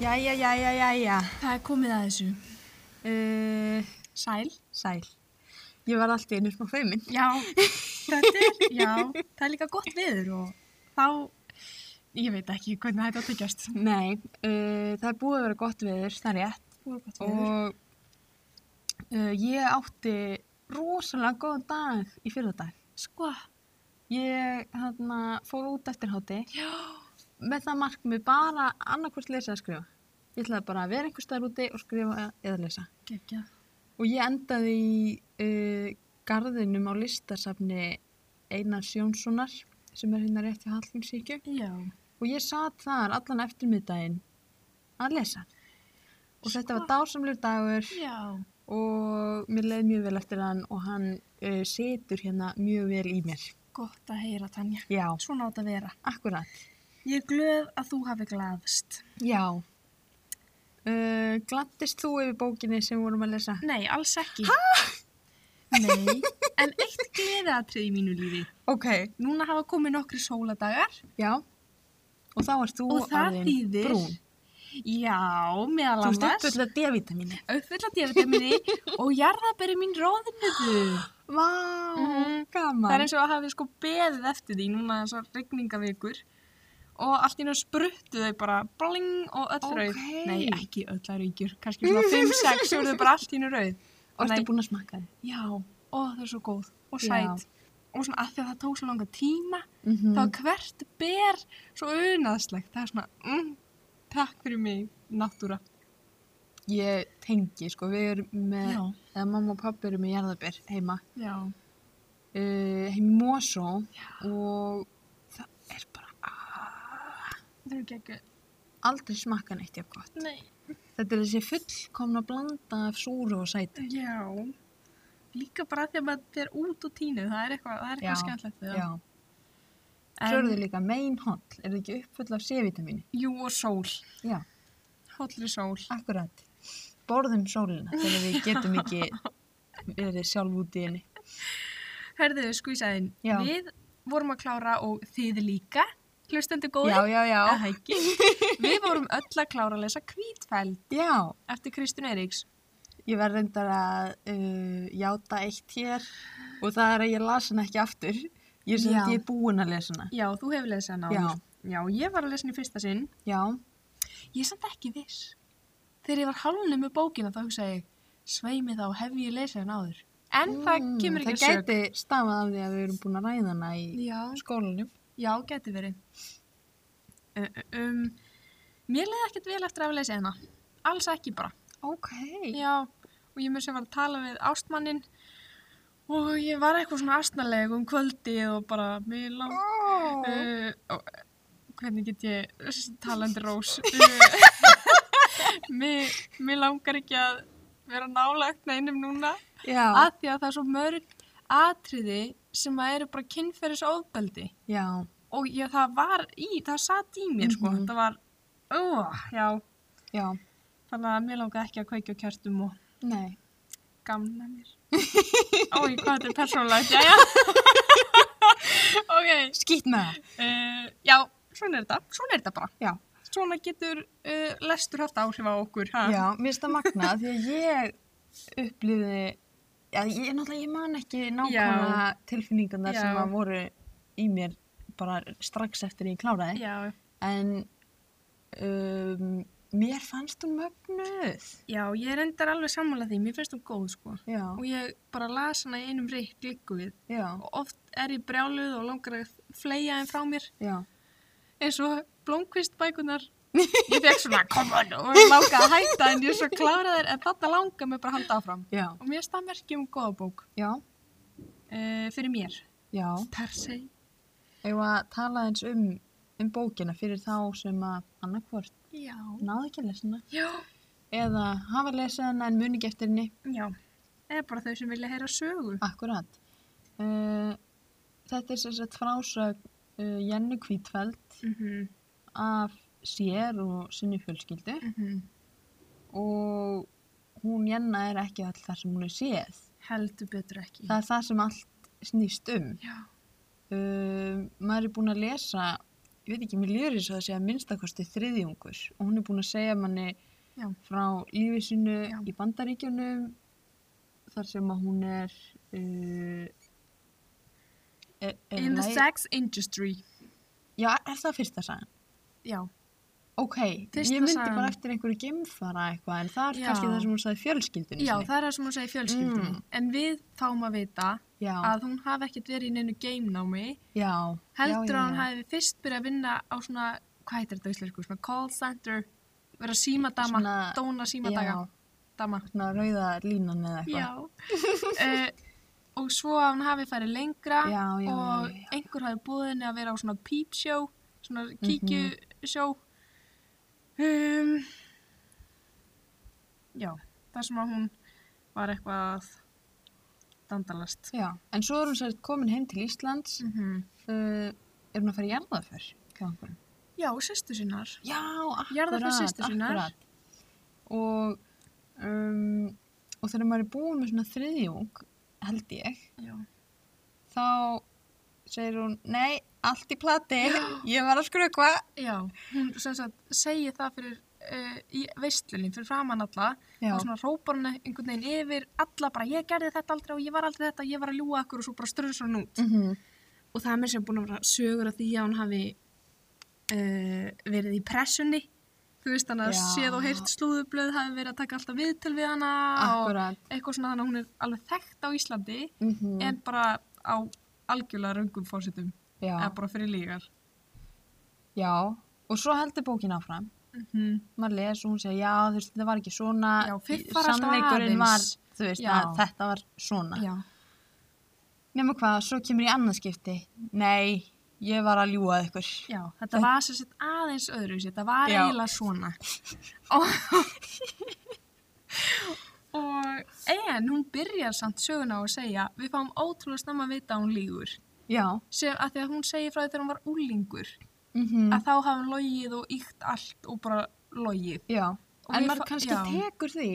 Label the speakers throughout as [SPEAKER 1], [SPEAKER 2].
[SPEAKER 1] Jæja, jæja, jæja.
[SPEAKER 2] Það er komið að þessu.
[SPEAKER 1] Uh,
[SPEAKER 2] Sæl.
[SPEAKER 1] sæl. Ég var alltaf einu smá feimin.
[SPEAKER 2] Já, þetta er, já, það er líka gott viður og þá, ég veit ekki hvernig þetta átt að gjast.
[SPEAKER 1] Nei, uh, það er búið að vera gott veður, það er rétt.
[SPEAKER 2] Og gott
[SPEAKER 1] Og uh, ég átti rosalega góðan dag í fyrradag.
[SPEAKER 2] Sko,
[SPEAKER 1] Ég hana, fór út eftir háti
[SPEAKER 2] já,
[SPEAKER 1] með það markmið bara annarkvort lesa að skrifa. Ég ætlaði bara að vera einhver staðar úti og skrifa eða lesa.
[SPEAKER 2] geggja.
[SPEAKER 1] Og ég endaði í uh, garðinum á listasafni Einars Jónssonar sem er hérna rétt hjá Hallgrímsíkju
[SPEAKER 2] Já.
[SPEAKER 1] og ég satt þar allan eftirmiðdægin að lesa. Og þetta
[SPEAKER 2] Sko.
[SPEAKER 1] var dásamlur dagur
[SPEAKER 2] Já.
[SPEAKER 1] og mér leið mjög vel eftir hann og hann uh, setur hérna mjög vel í mér.
[SPEAKER 2] Gott að heyra, Tanja.
[SPEAKER 1] Já,
[SPEAKER 2] Svona átt að vera.
[SPEAKER 1] akkurat.
[SPEAKER 2] Ég er glöð að þú hafi glaðst.
[SPEAKER 1] Já. Uh, glattist þú yfir bókinni sem við vorum að lesa?
[SPEAKER 2] Nei, alls ekki. Hæ? Nei, en eitt gleðatrið í mínu lífi.
[SPEAKER 1] Ok.
[SPEAKER 2] Núna hafa komið nokkri sóladagar
[SPEAKER 1] Já. Og þá varst þú
[SPEAKER 2] og það
[SPEAKER 1] orðin
[SPEAKER 2] þýðir...
[SPEAKER 1] brún.
[SPEAKER 2] Já, meðal
[SPEAKER 1] Þú
[SPEAKER 2] annars.
[SPEAKER 1] veist uppöldlega D-vitamíni.
[SPEAKER 2] auðvitað díafitaminni og jarðaberi mín róðinuðu.
[SPEAKER 1] Vá,
[SPEAKER 2] Mhm.
[SPEAKER 1] gaman.
[SPEAKER 2] Það er eins og að hafi sko beðið eftir því núna svo regningavikur og allt í náttúrulega spruttu þau bara bling og öll
[SPEAKER 1] Ókei.
[SPEAKER 2] rauð. Nei, ekki öll að rauðgjur, kannski svona 5-6 og þau bara allt í náttúrulega rauð.
[SPEAKER 1] og
[SPEAKER 2] Nei.
[SPEAKER 1] ertu búin að smakka þið?
[SPEAKER 2] Já, og þau er svo góð og
[SPEAKER 1] Já.
[SPEAKER 2] sæt. Og svona að því að það tók svo langa tíma,
[SPEAKER 1] Mm
[SPEAKER 2] þá er hvert ber svo unaðslegt. Það er svona, mm, takk fyrir mig, náttúra.
[SPEAKER 1] Ég tengi, sko, við erum með, eða mamma og pappi eru með jarðabér heima,
[SPEAKER 2] já,
[SPEAKER 1] uh, heim í Mosó
[SPEAKER 2] já.
[SPEAKER 1] og það er bara ah,
[SPEAKER 2] Það eru geggjur.
[SPEAKER 1] aldrei smakka neitt jafn gott.
[SPEAKER 2] Nei.
[SPEAKER 1] Þetta er þessi fullkomna blanda af súru og sæti.
[SPEAKER 2] Já, líka bara því að maður er út og tínu, það er eitthvað, það er eitthvað
[SPEAKER 1] Já,
[SPEAKER 2] skemmtilegt við það.
[SPEAKER 1] Já. Svo eru þið líka meinholl, eru þið ekki uppfull af C-vitamíni?
[SPEAKER 2] Jú og sól,
[SPEAKER 1] Já,
[SPEAKER 2] hóllri sól.
[SPEAKER 1] akkurat. Borðum sólina þegar við getum ekki verið sjálf út í henni.
[SPEAKER 2] Herðu, skvísaðinn,
[SPEAKER 1] Já.
[SPEAKER 2] við vorum að klára og þið líka, hlustendu góði.
[SPEAKER 1] Já, já, já.
[SPEAKER 2] Það ekki. við vorum öll að klára að lesa Hvítfæld
[SPEAKER 1] Já,
[SPEAKER 2] eftir Kristján Eiríks.
[SPEAKER 1] Ég verð reyndar að uh, játa eitt hér og það er að ég las hana ekki aftur. Ég er sem
[SPEAKER 2] Já.
[SPEAKER 1] þetta ég er búin að lesa hana.
[SPEAKER 2] Já, þú hefur lesað hana
[SPEAKER 1] Já.
[SPEAKER 2] áður. Já, ég var að lesa hana í fyrsta sinn.
[SPEAKER 1] Já,
[SPEAKER 2] Ég er samt ekki viss. Þegar ég var hálunum með bókina þá hugsaði ég, sveimi þá hef ég lesað hana áður. En það
[SPEAKER 1] Mm,
[SPEAKER 2] kemur ekki að
[SPEAKER 1] Það
[SPEAKER 2] sög.
[SPEAKER 1] gæti stafað af því að við erum búin að ræða hana í
[SPEAKER 2] Já,
[SPEAKER 1] skólanum.
[SPEAKER 2] Já, geti verið. Uh, Um, mér leiði ekkert vel eftir að hafa lesið hérna. Alls ekki bara.
[SPEAKER 1] Ok.
[SPEAKER 2] Já, og ég mér sem var að tala við ástmannin og ég var eitthvað svona astnaleg um kvöldið og bara, mér langt...
[SPEAKER 1] Oh.
[SPEAKER 2] Uh, og, hvernig get ég eh, s- talandi rós? Uh, mér, mér langar ekki að vera nálagt neinum núna
[SPEAKER 1] Já,
[SPEAKER 2] að því að það er svo mörg atriði sem að eru bara kynferðis ofbeldi
[SPEAKER 1] já,
[SPEAKER 2] og ég, það var í, það satt í mér sko,
[SPEAKER 1] Mhm.
[SPEAKER 2] þetta var, uh, já,
[SPEAKER 1] já.
[SPEAKER 2] þannig að mér langaði ekki að kveikja á kjartum og
[SPEAKER 1] Nei.
[SPEAKER 2] gamna mér. Ói, hvað þetta er persónulegt, já, já. ok,
[SPEAKER 1] Skýtt með það.
[SPEAKER 2] uh, já, svona er þetta, svona er þetta bara.
[SPEAKER 1] Já.
[SPEAKER 2] Svona getur uh, lestur haft áhrif á okkur, ha?
[SPEAKER 1] Já, mér finnst það magna því að ég upplýði, já, ég náttúrulega, ég man ekki nákvæmlega tilfinningarnar
[SPEAKER 2] Já.
[SPEAKER 1] sem að voru í mér bara strax eftir ég kláraði.
[SPEAKER 2] Já,
[SPEAKER 1] en um, mér fannst hún mögnuð.
[SPEAKER 2] já, ég reyndar alveg sammála því, mér finnst þú góð, sko.
[SPEAKER 1] Já,
[SPEAKER 2] Og ég bara las hana í einum reyk líku við.
[SPEAKER 1] já,
[SPEAKER 2] Og oft er ég brjáluð og langar að fleia þeim frá mér.
[SPEAKER 1] já.
[SPEAKER 2] eins og blómkvist bækunar ég fekk svona come on og ég langaði að hætta en ég svo kláraði þér en þetta langaði mig bara að halda áfram
[SPEAKER 1] Já,
[SPEAKER 2] og mér finnst það merki um góða bók
[SPEAKER 1] já,
[SPEAKER 2] uh, fyrir mér
[SPEAKER 1] já.
[SPEAKER 2] per se
[SPEAKER 1] Ég var að tala eins um, um bókina fyrir þá sem að annarkvort
[SPEAKER 2] já
[SPEAKER 1] náðu ekki að lesa hana
[SPEAKER 2] já
[SPEAKER 1] eða hafa lesið hana en muni ekki eftir henni.
[SPEAKER 2] já eða bara þau sem vilja heyra sögu
[SPEAKER 1] Akkurat. Uh, þetta er sem sagt frásög uh, Jennu Hvítfeld
[SPEAKER 2] mhm
[SPEAKER 1] af sér og sinni fjölskyldu
[SPEAKER 2] mhm
[SPEAKER 1] og hún Jenna er ekki all þar sem hún er séð.
[SPEAKER 2] heldur betur ekki
[SPEAKER 1] Það er það sem allt snýst um.
[SPEAKER 2] já
[SPEAKER 1] Ehm, um maður er búinn að lesa ég veit ekki, mér líður eins og það sé að minnstakosti þriðjungur og hún er búin að segja manni
[SPEAKER 2] Já.
[SPEAKER 1] frá lífi sinu
[SPEAKER 2] Já.
[SPEAKER 1] í bandaríkjunum þar sem að hún er uh, er, er
[SPEAKER 2] In the
[SPEAKER 1] læ-
[SPEAKER 2] sex industry.
[SPEAKER 1] Já, er það fyrsta sagan?
[SPEAKER 2] Já.
[SPEAKER 1] Ok,
[SPEAKER 2] Fyrsta
[SPEAKER 1] ég myndi
[SPEAKER 2] sagan.
[SPEAKER 1] bara eftir einhverju geimfara eitthvað en það er
[SPEAKER 2] Já.
[SPEAKER 1] kannski það sem hún sagði fjölskyldunni
[SPEAKER 2] Já,
[SPEAKER 1] sinni.
[SPEAKER 2] það er það sem hún segir fjölskyldunum.
[SPEAKER 1] Mm.
[SPEAKER 2] En við fáum að vita
[SPEAKER 1] Já,
[SPEAKER 2] að hún hafi ekkert verið í neinu geimnámi.
[SPEAKER 1] já, Já,
[SPEAKER 2] Heldur
[SPEAKER 1] já,
[SPEAKER 2] að
[SPEAKER 1] já.
[SPEAKER 2] hún hafi fyrst byrjað að vinna á svona, hvað heitir þetta á íslensku, svona call center, vera símadama,
[SPEAKER 1] Svona-
[SPEAKER 2] dóna símadaga,
[SPEAKER 1] já,
[SPEAKER 2] dama.
[SPEAKER 1] svona rauða línan eða eitthvað.
[SPEAKER 2] Já. uh, og svo að hún hafi farið lengra
[SPEAKER 1] Já, já, já, já.
[SPEAKER 2] og
[SPEAKER 1] Mhm.
[SPEAKER 2] einhver hafi búið henni að vera á svona pípsjó, svona kíkjusjó. Um, já, þar sem að hún var eitthvað að dandalast.
[SPEAKER 1] Já, en svo er hún sér komin heim til Íslands,
[SPEAKER 2] Mm
[SPEAKER 1] uh, er hún að fara í jarðaför? Já,
[SPEAKER 2] Já, sýstu sinnar.
[SPEAKER 1] akkurat,
[SPEAKER 2] Jarðarför systur sinnar.
[SPEAKER 1] akkurat. Og, um, og þegar maður er búin með svona þriðjung, held ég,
[SPEAKER 2] Já.
[SPEAKER 1] þá segir hún, nei, allt í plati, ég var að skrökva.
[SPEAKER 2] Já, hún sem sagt segir það fyrir uh, í veistlunni, fyrir framann alla
[SPEAKER 1] Já,
[SPEAKER 2] og svona rópar hún einhvern veginn yfir alla bara ég gerði þetta aldrei og ég var aldrei þetta ég var að ljúa okkur og svo bara ströðsar hún út
[SPEAKER 1] mm
[SPEAKER 2] og það er mér sem búin að vera sögur að því að hún hafi uh, verið í pressunni þú veist hann að
[SPEAKER 1] Já.
[SPEAKER 2] séð og heyrt slúðublöð hafi verið að taka alltaf viðtöl við hana
[SPEAKER 1] akkurat.
[SPEAKER 2] og eitthvað svona þannig að hún er alveg þekkt á Íslandi
[SPEAKER 1] Mm
[SPEAKER 2] en bara á algjörlega röngum fórsetum
[SPEAKER 1] já,
[SPEAKER 2] eða bara fyrir lígar
[SPEAKER 1] já, og svo heldur bókin áfram.
[SPEAKER 2] mm
[SPEAKER 1] maður les og hún segir já þú veist þetta var ekki svona
[SPEAKER 2] Já, fiffarast var
[SPEAKER 1] sannleikurinn var
[SPEAKER 2] aðeins.
[SPEAKER 1] þú veist
[SPEAKER 2] Já.
[SPEAKER 1] að þetta var svona
[SPEAKER 2] Já,
[SPEAKER 1] nema hvað, svo kemur í annað skipti nei, ég var að ljúga að ykkur
[SPEAKER 2] já, þetta var sem sagt aðeins öðru þetta var
[SPEAKER 1] Já.
[SPEAKER 2] eiginlega svona og, og en hún byrjar samt söguna á að segja við fáum ótrúlega snemma að vita að hún lígur
[SPEAKER 1] já,
[SPEAKER 2] sem að því að hún segir frá því þegar hún var úlingur
[SPEAKER 1] mhm,
[SPEAKER 2] að þá hafi hann logið og ykt allt og bara logið
[SPEAKER 1] já
[SPEAKER 2] Og
[SPEAKER 1] en
[SPEAKER 2] mér
[SPEAKER 1] maður
[SPEAKER 2] fa-
[SPEAKER 1] kannski
[SPEAKER 2] já.
[SPEAKER 1] tekur því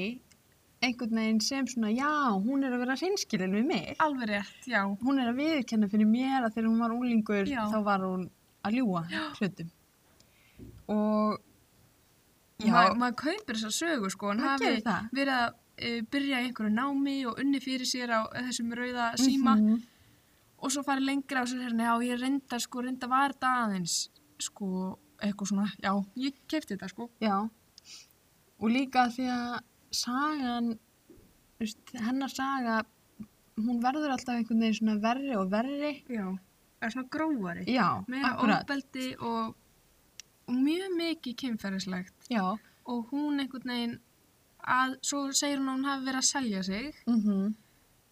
[SPEAKER 1] einhvern veginn sem svona já, hún er að vera hreinskilin við mig
[SPEAKER 2] alveg rétt, já
[SPEAKER 1] hún er að viðkenna fyrir mér að þegar hún var úlingur
[SPEAKER 2] Já.
[SPEAKER 1] þá var hún að ljúga hlutum og
[SPEAKER 2] Ma, maður kaupir þessa sögu sko hann
[SPEAKER 1] Maður
[SPEAKER 2] hafi
[SPEAKER 1] gerir það.
[SPEAKER 2] verið að e, byrja í einhverju námi og unni fyrir sér á þessum rauða síma
[SPEAKER 1] Mhm.
[SPEAKER 2] og svo farið lengra og sér hérna já ég reynda sko reynda var þetta aðeins sko eitthvað svona já ég kefti þetta sko
[SPEAKER 1] Já, og líka því að sagan, þú veist, hennar saga, hún verður alltaf einhvern veginn svona verri og verri.
[SPEAKER 2] já er svona grófari
[SPEAKER 1] Já,
[SPEAKER 2] meira
[SPEAKER 1] akkurat.
[SPEAKER 2] ofbeldi og, og mjög mikið kynferðislegt
[SPEAKER 1] Já,
[SPEAKER 2] og hún einhvern veginn að, svo segir hún að hún hafi verið að selja sig
[SPEAKER 1] mhm,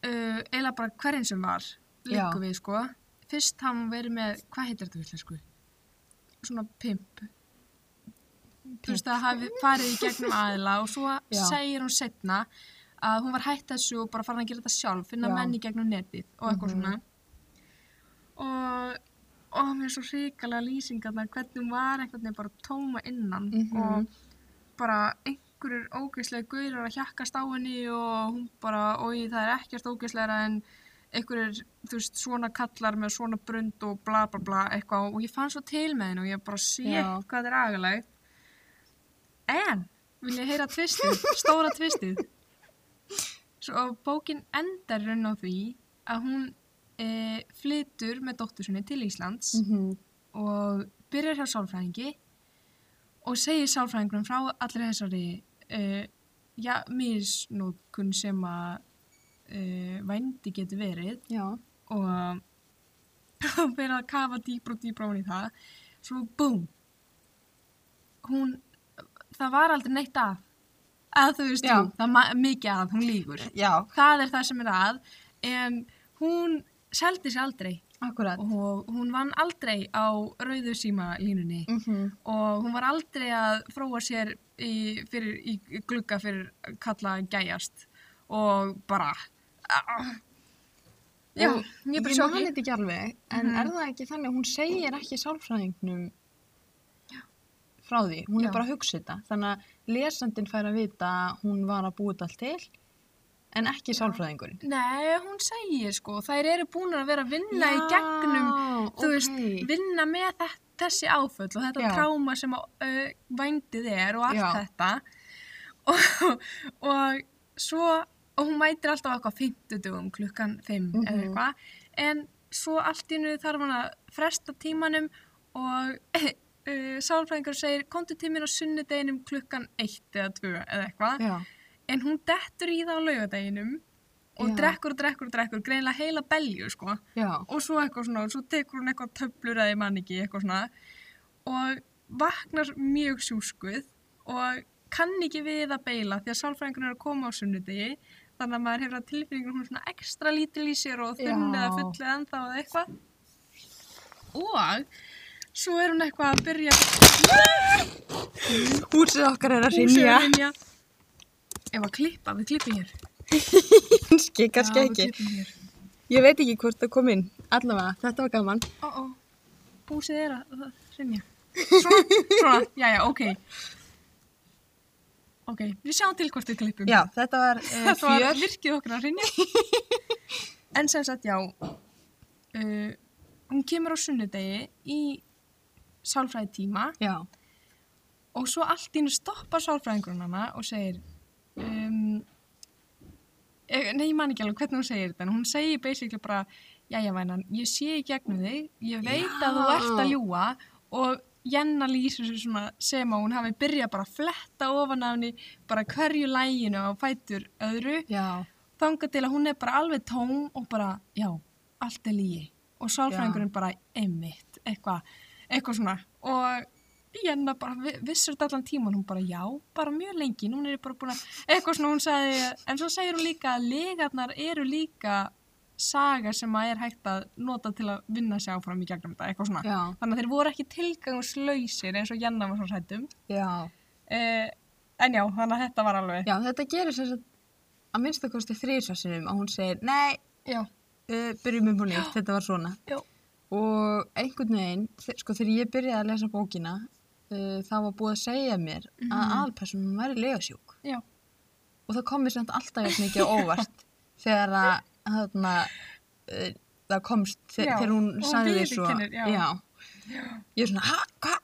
[SPEAKER 2] uh, eila bara hverjum sem var líku
[SPEAKER 1] Já.
[SPEAKER 2] við sko fyrst hafa hún verið með, hvað heitir þetta vilja sko svona pimp þú veist það hafi farið í gegnum aðila og svo
[SPEAKER 1] Já.
[SPEAKER 2] segir hún setna að hún var hætt þessu og bara farin að gera þetta sjálf finna
[SPEAKER 1] Já.
[SPEAKER 2] menn í gegnum netið og eitthvað
[SPEAKER 1] Mhm.
[SPEAKER 2] svona og og mér er svo hrikalega lýsingarna hvernig hún var einhvern veginn bara tóma innan
[SPEAKER 1] Mhm.
[SPEAKER 2] og bara einhverjur ógeðslega gaurar að hjakkast á henni og hún bara, oi það er ekkert ógeðslega en einhverjur, þú veist, svona kallar með svona brund og bla bla bla eitthvað og ég fann svo til með henni og ég bara sé
[SPEAKER 1] Já.
[SPEAKER 2] hvað þetta er agalegt en, vil ég heyra tvistið, stóra tvistið svo bókin endar raun á því að hún e, flytur með dóttur sinni til Íslands
[SPEAKER 1] mhm,
[SPEAKER 2] og byrjar hjá sálfræðingi og segir sálfræðingunum frá allir þessari uh, já, misnótkun sem að uh, vændi getur verið
[SPEAKER 1] já,
[SPEAKER 2] og hann fyrir að kafa dýbra og dýbra hún í það svo búm hún, það var aldrei neitt að að þú veist
[SPEAKER 1] Já.
[SPEAKER 2] þú, það er ma- mikið að hún lígur
[SPEAKER 1] já,
[SPEAKER 2] það er það sem er að en hún seldi sér aldrei
[SPEAKER 1] akkurat.
[SPEAKER 2] og hún vann aldrei á rauðu síma línunni
[SPEAKER 1] Mhm,
[SPEAKER 2] og hún var aldrei að fróa sér í, fyrir, í glugga fyrir kalla gæjast og bara ah. Já,
[SPEAKER 1] Og
[SPEAKER 2] ég er bara
[SPEAKER 1] Ég man
[SPEAKER 2] sjóki
[SPEAKER 1] þetta ekki alveg, en
[SPEAKER 2] Mhm.
[SPEAKER 1] er það ekki þannig að hún segir ekki sálfræðingnum frá því, hún
[SPEAKER 2] Já.
[SPEAKER 1] er bara að hugsa þetta. Þannig að lesandinn fær að vita að hún var að búa þetta allt til, en ekki sálfræðingurinn.
[SPEAKER 2] Nei, hún segir sko, þær eru búin að vera að vinna í gegnum, þú veist,
[SPEAKER 1] ok.
[SPEAKER 2] vinna með þetta þessi áföll og þetta
[SPEAKER 1] Já.
[SPEAKER 2] tráma sem uh, vændið er og allt
[SPEAKER 1] Já.
[SPEAKER 2] þetta og, og svo og hún mætir alltaf á eitthvað 50 dugum klukkan 5 eða
[SPEAKER 1] Mhm.
[SPEAKER 2] eitthvað en svo allt í nú þarf hann að fresta tímanum og uh, sálfræðingur segir komdu tíminn á sunnudeginum klukkan 1 eða 2 eða eitthvað
[SPEAKER 1] já,
[SPEAKER 2] en hún dettur í það á laugardeginum og
[SPEAKER 1] Já.
[SPEAKER 2] drekkur og drekkur og drekkur, greinlega heila belju sko
[SPEAKER 1] já,
[SPEAKER 2] og svo eitthvað svona, og svo tekur hún eitthvað töflur eða ég man ekki, eitthvað svona og vaknar mjög sjúskuð og kann ekki við að beila því að sálfræðingur er að koma á sunnudegi þannig að maður hefur að tilfinningur hún er svona ekstra lítil í sér og þunn
[SPEAKER 1] Já.
[SPEAKER 2] eða full eða ennþá eða eitthvað og svo er hún eitthvað að byrja
[SPEAKER 1] húsið okkar er að
[SPEAKER 2] húsið
[SPEAKER 1] rinja
[SPEAKER 2] að rinja ef að klippa, við klippum hér
[SPEAKER 1] kannski, kannski
[SPEAKER 2] Já, við
[SPEAKER 1] ekki
[SPEAKER 2] klippum hér.
[SPEAKER 1] ég veit ekki hvort það kom inn allavega, þetta var gaman
[SPEAKER 2] Ó, ó, búsið er að rinja. Svona, svona, já, já, ok. Ok, við sjáum til hvort við klippum.
[SPEAKER 1] já, þetta var uh,
[SPEAKER 2] þetta var
[SPEAKER 1] fjör
[SPEAKER 2] virkið okkur að rinja. en sem sagt, já, uh, hún kemur á sunnudegi í sálfræðitíma
[SPEAKER 1] já,
[SPEAKER 2] og svo allt í hennu stoppar sálfræðingurinn hana og segir um, eh, nei, ég man ekki alveg hvernig hún segir þetta en hún segir basically bara jæja vænan, ég sé í gegnum þig ég veit að þú
[SPEAKER 1] Já.
[SPEAKER 2] ert að ljúa og Jenna lýsir sér svona sem að hún hafi byrjað bara að fletta ofan af henni bara hverju læginu og fætur öðru
[SPEAKER 1] já,
[SPEAKER 2] þangað til að hún er bara alveg tóm og bara, já, allt er lígi og sálfræðingurinn bara, einmitt eitthvað, eitthvað svona og Jenna bara vi- vissur þetta allan tíman hún bara, já, bara mjög lengi núna er ég bara búin að, eitthvað svona hún sagði en svo segir hún líka að legarnar eru líka saga sem að er hægt að nota til að vinna sig áfram í gegnum þetta, eitthvað svona
[SPEAKER 1] já,
[SPEAKER 2] þannig að þeir voru ekki tilgangslausir eins og Jenna var svo hrættum
[SPEAKER 1] já
[SPEAKER 2] eh, en já, þannig að þetta var alveg
[SPEAKER 1] já, þetta gerir sem sagt að minnstakosti þrísvarsinum að hún segir nei,
[SPEAKER 2] já,
[SPEAKER 1] uh, byrjum upp og nýtt, þetta var svona
[SPEAKER 2] já,
[SPEAKER 1] og einhvern veginn, þe- sko þegar ég byrjaði að lesa bókina uh, þá var búið að segja mér að
[SPEAKER 2] Mhm.
[SPEAKER 1] aðalpersonum væri legasjúk
[SPEAKER 2] já.
[SPEAKER 1] og það kom mér samt alltaf jafn mikið á óvart þegar að þarna, uh, það komst þe
[SPEAKER 2] Já,
[SPEAKER 1] þegar hún
[SPEAKER 2] og hún
[SPEAKER 1] sagði svo
[SPEAKER 2] viðurkennir, já.
[SPEAKER 1] ég er svona, "Ha? hvað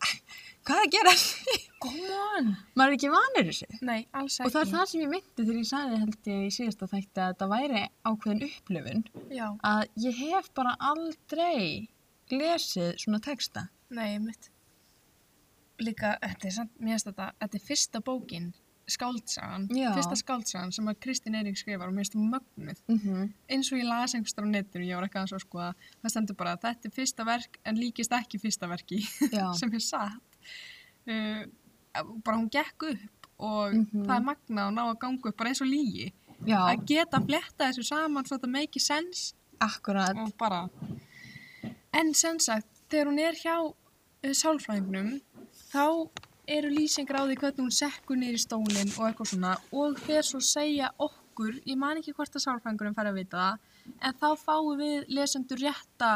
[SPEAKER 1] hva er að gera
[SPEAKER 2] Come on!
[SPEAKER 1] maður er ekki vanur þessu
[SPEAKER 2] Nei, alls ekki.
[SPEAKER 1] og það er það sem ég myndi þegar ég sagði held ég í síðasta þætti að þetta væri ákveðin upplöfun
[SPEAKER 2] Já,
[SPEAKER 1] að ég hef bara aldrei lesið svona texta
[SPEAKER 2] nei, mitt. Líka, þetta er samt, mér finnst þetta, þetta er fyrsta bókin, skáldsagan,
[SPEAKER 1] Já.
[SPEAKER 2] fyrsta skáldsagan sem að Kristín Eirík skrifar og mér finnst hún mögnuð.
[SPEAKER 1] mm
[SPEAKER 2] Eins og ég las einhverstað á netinu, ég var ekki aðeins að skoða, það stendur bara að þetta er fyrsta verk en líkist ekki fyrsta verki
[SPEAKER 1] já,
[SPEAKER 2] sem er satt. Uh, bara hún gekk upp og
[SPEAKER 1] Mhm.
[SPEAKER 2] það er magnað að ná að ganga upp bara eins og lígi.
[SPEAKER 1] já,
[SPEAKER 2] Að geta að fletta þessu saman svo þetta make sense
[SPEAKER 1] akkurat
[SPEAKER 2] og bara en sem sagt, þegar hún er hjá uh, sálfræðingnum þá eru lýsingar á því hvernig hún sekkur niður í stólinn og eitthvað svona og fer svo að segja okkur ég man ekki hvort að sálfræðingurinn fær að vita það en þá fáum við lesendur rétta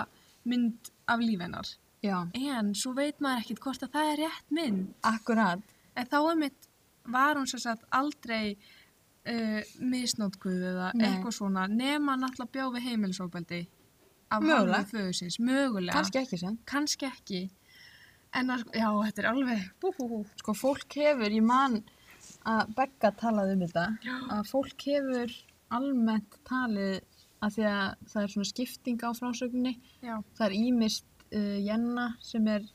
[SPEAKER 2] mynd af lífennar
[SPEAKER 1] já,
[SPEAKER 2] en svo veit maður ekkit hvort að það er rétt mynd
[SPEAKER 1] akkurat
[SPEAKER 2] en þá einmitt var hún sem sagt aldrei uh, misnótkuð eða
[SPEAKER 1] Nei.
[SPEAKER 2] eitthvað svona nema náttúrulega bjá við heimilisofbeldi af
[SPEAKER 1] Mögulega.
[SPEAKER 2] hálfu föðusins, mögulega
[SPEAKER 1] kannski ekki sem
[SPEAKER 2] kannski ekki en að, já, þetta er alveg bú, bú, bú.
[SPEAKER 1] sko fólk hefur, ég man að Begga talaði um þetta að fólk hefur almennt talið að því að það er svona skipting á frásögninni
[SPEAKER 2] já,
[SPEAKER 1] það er ímist uh, Jenna sem er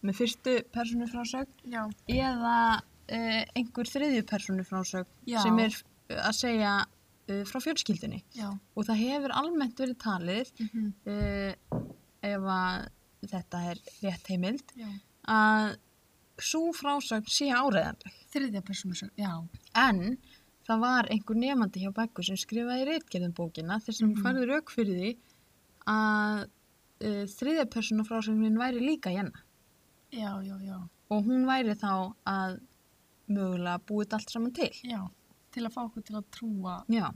[SPEAKER 1] með fyrstu personu frásögn
[SPEAKER 2] já,
[SPEAKER 1] eða uh, einhver þriðju personu frásögn
[SPEAKER 2] Já.
[SPEAKER 1] sem er uh, að segja uh, frá fjölskyldunni
[SPEAKER 2] já
[SPEAKER 1] og það hefur almennt verið talið
[SPEAKER 2] mm
[SPEAKER 1] uh, ef að þetta er rétt heimild
[SPEAKER 2] já,
[SPEAKER 1] að svo frásögn sé áreðanleg
[SPEAKER 2] þriðja persónu sög, já
[SPEAKER 1] en það var einhver nefandi hjá Beggu sem skrifaði reitgerðum bókina þess að hún
[SPEAKER 2] Mhm.
[SPEAKER 1] færði rauk fyrir því að uh, þriðja persónu frásögnin væri líka hérna
[SPEAKER 2] já, já, já,
[SPEAKER 1] og hún væri þá að mögulega búið þetta allt saman til
[SPEAKER 2] já til að fá okkur til að trúa
[SPEAKER 1] já,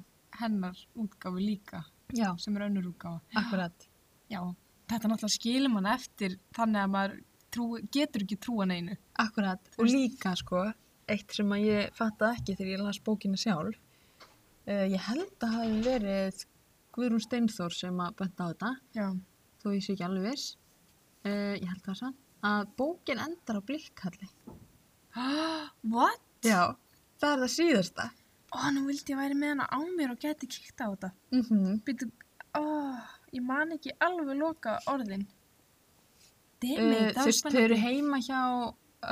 [SPEAKER 2] hennar útgáfi líka
[SPEAKER 1] já,
[SPEAKER 2] sem er önnur útgáfa
[SPEAKER 1] akkurat
[SPEAKER 2] já, þetta náttúrulega skilur mann eftir þannig að maður trú, getur ekki trúa neinu
[SPEAKER 1] akkurat og líka sko eitt sem að ég fattaði ekki þegar ég las bókina sjálf uh, ég held að hafi verið Guðrún Steinþór sem að benda á þetta
[SPEAKER 2] já,
[SPEAKER 1] þó ég sé ekki alveg viss uh, ég held það sann að bókin endar á blikkalli.
[SPEAKER 2] What?
[SPEAKER 1] Já, það er það síðasta.
[SPEAKER 2] Ó, nú vildi ég væri með hana á mér og geti kíkt á þetta.
[SPEAKER 1] Mm -hmm.
[SPEAKER 2] Býtu, ó, ég man ekki alveg loka orðin.
[SPEAKER 1] Eh, þú
[SPEAKER 2] Demi, uh, það var
[SPEAKER 1] veist, þau
[SPEAKER 2] spennandi.
[SPEAKER 1] eru heima hjá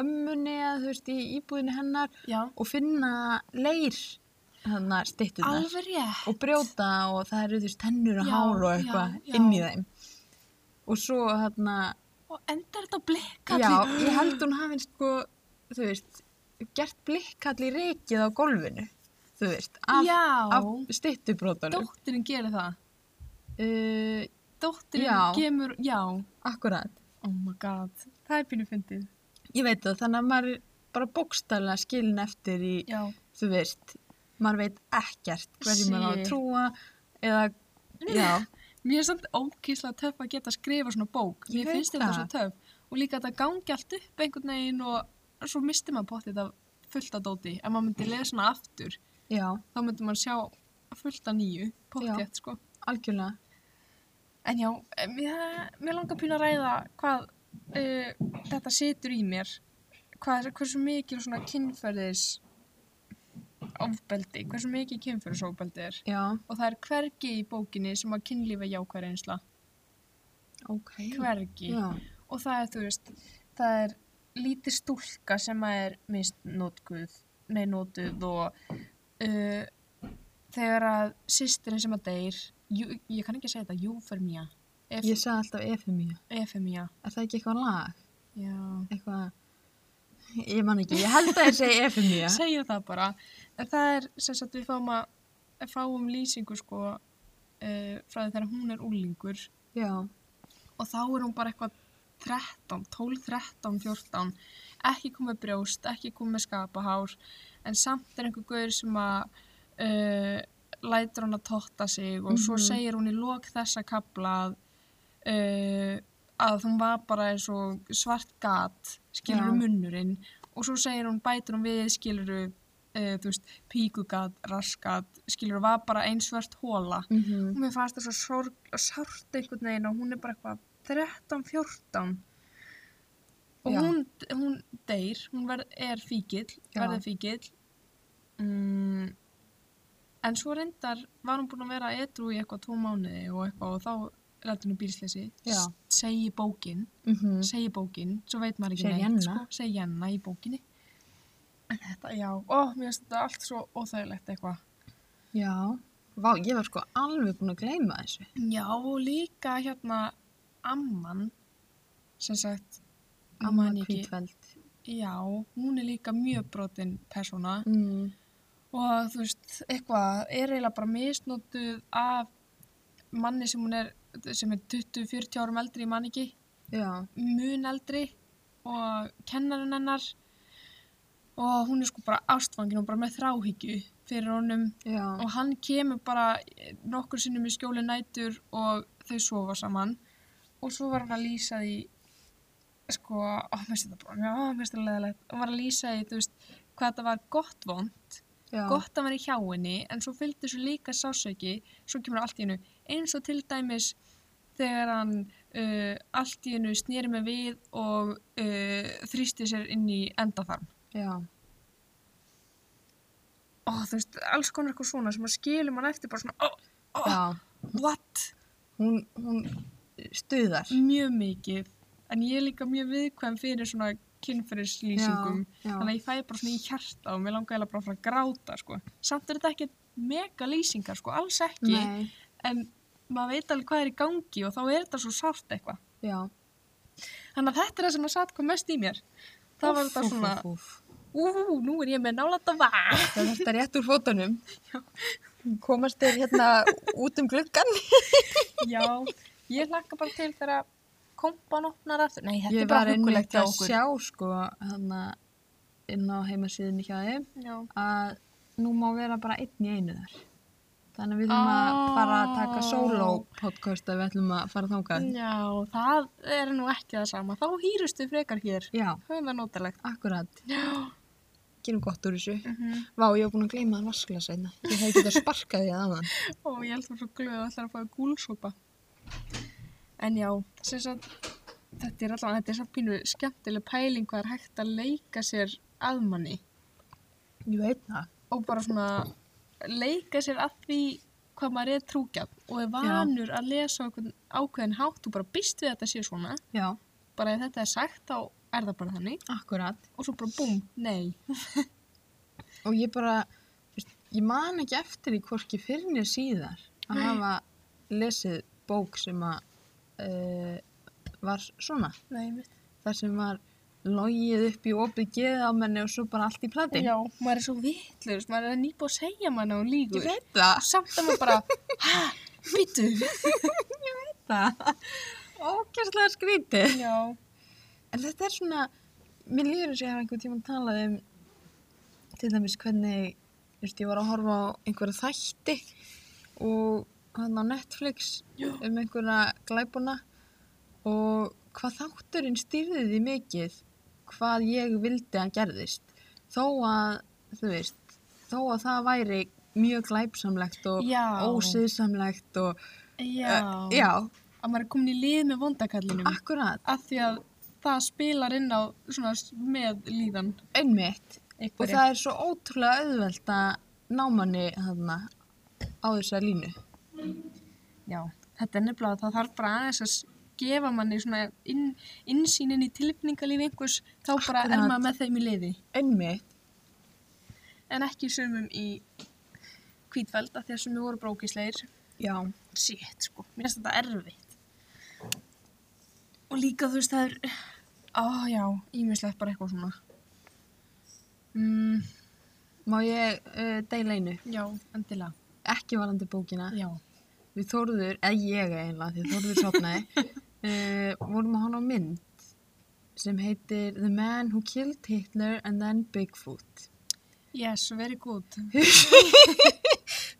[SPEAKER 1] ömmunni eða þú veist í íbúðinu hennar
[SPEAKER 2] Já,
[SPEAKER 1] og finna leir þannig að stittunar
[SPEAKER 2] alveg rétt.
[SPEAKER 1] og brjóta og það eru þú veist tennur og
[SPEAKER 2] Já,
[SPEAKER 1] hár og
[SPEAKER 2] já, já.
[SPEAKER 1] eitthvað inn í þeim og svo þarna
[SPEAKER 2] Og endar þetta á blikkalli.
[SPEAKER 1] já, ég held hún hafi sko þú veist, gert blikkall í reikið á golfinu þú veist, af,
[SPEAKER 2] Já,
[SPEAKER 1] af stittubrótanum
[SPEAKER 2] dóttirinn gerir það.
[SPEAKER 1] uh, Já.
[SPEAKER 2] Dóttirinn gemur, já.
[SPEAKER 1] akkurat,
[SPEAKER 2] Oh my god, það er pínu fyndið.
[SPEAKER 1] ég veit það þannig að maður er bara bókstæla skilin eftir í,
[SPEAKER 2] Já.
[SPEAKER 1] þú veist maður veit ekkert hverju maður á að
[SPEAKER 2] Shit.
[SPEAKER 1] trúa eða, já,
[SPEAKER 2] Mér er samt ókýrslega töf að geta að skrifa svona bók.
[SPEAKER 1] Ég veit
[SPEAKER 2] Mér finnst þetta
[SPEAKER 1] það.
[SPEAKER 2] svo töf. Og líka að þetta gangi allt upp einhvern veginn og svo misti maður potið þetta fullt að dóti. Ef maður myndi lesa hana aftur,
[SPEAKER 1] já,
[SPEAKER 2] þá myndi maður sjá fullt að nýju
[SPEAKER 1] Já.
[SPEAKER 2] potið, sko.
[SPEAKER 1] algjörlega
[SPEAKER 2] En já, eh, mér, mér langar pínu að ræða hvað uh, þetta situr í mér. Hvað, hversu mikið svona kynferðis ofbeldi, hversu mikið kynferðisofbeldi er.
[SPEAKER 1] já,
[SPEAKER 2] Og það er hvergi í bókinni sem að kynlífa jákvæð einsla.
[SPEAKER 1] ok
[SPEAKER 2] Hvergi.
[SPEAKER 1] já,
[SPEAKER 2] Og það er, þú veist, það er lítið stúlka sem að er misnótguð, nei nótuð og uh, þegar að sýstirinn sem að deyr, jú, ég kann ekki segja þetta, júfermía, ef,
[SPEAKER 1] ég sagði alltaf efemía
[SPEAKER 2] efemía,
[SPEAKER 1] er það ekki eitthvað lag,
[SPEAKER 2] já,
[SPEAKER 1] eitthvað ég man ekki, ég held að ég segi efemía
[SPEAKER 2] segja það bara. En það er, sem sagt, við fáum, að, fáum lýsingu, sko, uh, frá því þegar hún er úlingur
[SPEAKER 1] já,
[SPEAKER 2] og þá er hún bara eitthvað 13, 12, 13, 14 ekki komið brjóst, ekki komið skapahár en samt er einhver gaur sem að uh, lætur hún að totta sig og svo
[SPEAKER 1] Mhm.
[SPEAKER 2] segir hún í lok þessa kapla að, uh, að hún var bara eins og svart gat skilur
[SPEAKER 1] Já.
[SPEAKER 2] munnurinn og svo segir hún, bætur hún við skilur uh, þú veist, píkugat, raskat skilur var bara eins svart hóla
[SPEAKER 1] mm
[SPEAKER 2] og mér fannst það svo sorg og sárt einhvern veginn og hún er bara eitthvað 13, 14 og
[SPEAKER 1] Já.
[SPEAKER 2] hún, hún deyr, hún verð, er fíkil
[SPEAKER 1] Já.
[SPEAKER 2] verður fíkil mm, en svo reyndar var hún búin að vera edru í eitthvað tvo mánuði og eitthvað og þá rættur hún bílsleysi
[SPEAKER 1] Já.
[SPEAKER 2] segi bókin,
[SPEAKER 1] Mhm.
[SPEAKER 2] segi bókin svo veit maður ekki
[SPEAKER 1] Segir
[SPEAKER 2] neitt,
[SPEAKER 1] Jenna.
[SPEAKER 2] sko, segi jenna í bókinni en þetta, já, ó, mér finnst þetta allt svo óþægilegt eitthvað
[SPEAKER 1] já Vá, ég var sko alveg búin að gleyma þessu.
[SPEAKER 2] Já, og líka hérna amman, sem sagt,
[SPEAKER 1] Amma
[SPEAKER 2] man ekki-
[SPEAKER 1] Kvítveld.
[SPEAKER 2] já, hún er líka mjög brotin persóna
[SPEAKER 1] Mm.
[SPEAKER 2] og þú veist, eitthvað, er eiginlega bara misnótuð af manni sem hún er, sem er 20-40 árum eldri í manningi,
[SPEAKER 1] Já,
[SPEAKER 2] mun eldri og kennarinn hennar og hún er sko bara ástfangin og bara með þráhyggju fyrir honum
[SPEAKER 1] já,
[SPEAKER 2] og hann kemur bara nokkur sinnum í skjóli nætur og þau sofa saman og svo var hann að lýsa því sko, ó, mér finnst þetta bara mjög, ó, mér finnst þetta leðilegt hann var að lýsa því, þú veist, hvað þetta var gott vond
[SPEAKER 1] já.
[SPEAKER 2] gott að vera í hjá henni en svo fylgdi svo líka sásauki svo kemur allt í hennu, eins og til dæmis þegar hann uh, allt í hennu snýri með við og uh, þrýsti sér inn í endaþarm
[SPEAKER 1] Já,
[SPEAKER 2] ó, þú veist, alls konar eitthvað svona sem að skilum hann eftir bara svona, ó, ó,
[SPEAKER 1] já.
[SPEAKER 2] what?
[SPEAKER 1] Hún, hún stuðar.
[SPEAKER 2] Mjög mikið, en ég er líka mjög viðkvæm fyrir svona kynferðislýsingum.
[SPEAKER 1] Já, já.
[SPEAKER 2] Þannig að ég fæ bara svona í hjarta og mér langar eiginlega bara að fara að gráta, sko. Samt er þetta ekki mega lýsingar, sko, alls ekki.
[SPEAKER 1] Nei,
[SPEAKER 2] En maður veit alveg hvað er í gangi og þá er þetta svo sárt eitthvað.
[SPEAKER 1] já.
[SPEAKER 2] Þannig að þetta er það sem að satt kom mest í mér. Það var þetta svona,
[SPEAKER 1] Úf, úf, úf.
[SPEAKER 2] ú, nú er ég með nálægt að vatn.
[SPEAKER 1] Það var þetta rétt úr fótunum. Komast þér hérna út um gluggan?
[SPEAKER 2] Já, ég hlakka bara til þegar að kompan opnar aftur. Nei, þetta
[SPEAKER 1] Ég
[SPEAKER 2] er bara
[SPEAKER 1] var einmitt
[SPEAKER 2] huggulegt hjá
[SPEAKER 1] að
[SPEAKER 2] okkur.
[SPEAKER 1] sjá sko hana inn á heimasíðinni hjá þeim
[SPEAKER 2] Já.
[SPEAKER 1] að nú má vera bara einn í einu þar. Þannig að við þurfum að
[SPEAKER 2] Ah.
[SPEAKER 1] fara að taka solo podcast ef við ætlum að fara þangað.
[SPEAKER 2] Já, það er nú ekki það sama. Þá hýrustu frekar hér.
[SPEAKER 1] Já,
[SPEAKER 2] Höfum það notalegt.
[SPEAKER 1] akkurat.
[SPEAKER 2] Já.
[SPEAKER 1] Gerum gott úr þessu.
[SPEAKER 2] Mm -hmm.
[SPEAKER 1] Vá, ég hef búin að gleyma það vaskla seinna. Ég hef getað sparkað því aðan.
[SPEAKER 2] Og ég held það svo glöð að það er að fá gúlsopa. En já, sem sagt, þetta er allavega, þetta er samt pínu skemmtileg pæling hvað er hægt að leika sér að manni
[SPEAKER 1] Ég veit það.
[SPEAKER 2] og bara svona leika sér að því hvað maður er trúgjaf og er vanur að lesa á einhvern ákveðin hátt og bara býst við að þetta sé svona
[SPEAKER 1] Já,
[SPEAKER 2] bara ef þetta er sagt þá er það bara þannig
[SPEAKER 1] akkurat.
[SPEAKER 2] og svo bara búm, nei
[SPEAKER 1] Og ég bara, þú veist, ég man ekki eftir í hvorki fyrir nýr síðar að
[SPEAKER 2] Nei.
[SPEAKER 1] hafa lesið bók sem að uh, var svona.
[SPEAKER 2] Nei, mitt
[SPEAKER 1] Þar sem var logið upp í opið geð á menni og svo bara allt í plati.
[SPEAKER 2] Já, maður er svo vitlur, maður er nýbúið að segja manna og líkur
[SPEAKER 1] Ég veit það.
[SPEAKER 2] Samt að maður bara, hæ, býtu
[SPEAKER 1] Það. Ókjærslega skrítið.
[SPEAKER 2] Já,
[SPEAKER 1] En þetta er svona, mér líður þess að ég hef einhvern tímann talað um til dæmis hvernig, þú veist, ég var að horfa á einhverja þætti og hann á Netflix
[SPEAKER 2] Já.
[SPEAKER 1] um einhverja glæbuna og hvað þátturinn stýrði því mikið hvað ég vildi að gerðist þó að, þú veist, þó að það væri mjög glæpsamlegt og
[SPEAKER 2] já
[SPEAKER 1] ósiðsamlegt og,
[SPEAKER 2] Já,
[SPEAKER 1] Eh, já,
[SPEAKER 2] að maður er komin í lið með vondakallinum
[SPEAKER 1] akkurat,
[SPEAKER 2] af því að það spilar inn á svona s- með líðan
[SPEAKER 1] einmitt Og
[SPEAKER 2] einhverja.
[SPEAKER 1] það er svo ótrúlega auðvelt að ná manni þarna á þessa línu.
[SPEAKER 2] Já, þetta er nefnilega að það þarf bara aðeins að s- gefa manni svona inn, innsýnin í tilfinningalíf einhvers þá bara er
[SPEAKER 1] Akkurat.
[SPEAKER 2] maður með þeim í liði
[SPEAKER 1] Einmitt,
[SPEAKER 2] en ekki sumum í hvítfæld af því að sumum voru brókisleir
[SPEAKER 1] já,
[SPEAKER 2] Sitt, sko, mér finnst þetta erfitt og líka þú veist það er á já, ímislegt bara eitthvað svona mm,
[SPEAKER 1] má ég uh, deila einu,
[SPEAKER 2] já, endilega
[SPEAKER 1] ekki varandi bókina.
[SPEAKER 2] já,
[SPEAKER 1] Við Þórður, eða ég eiginlega, því að Þórður sopnaði, uh, vorum að hana á mynd sem heitir The Man Who Killed Hitler and Then Bigfoot.
[SPEAKER 2] yes, very good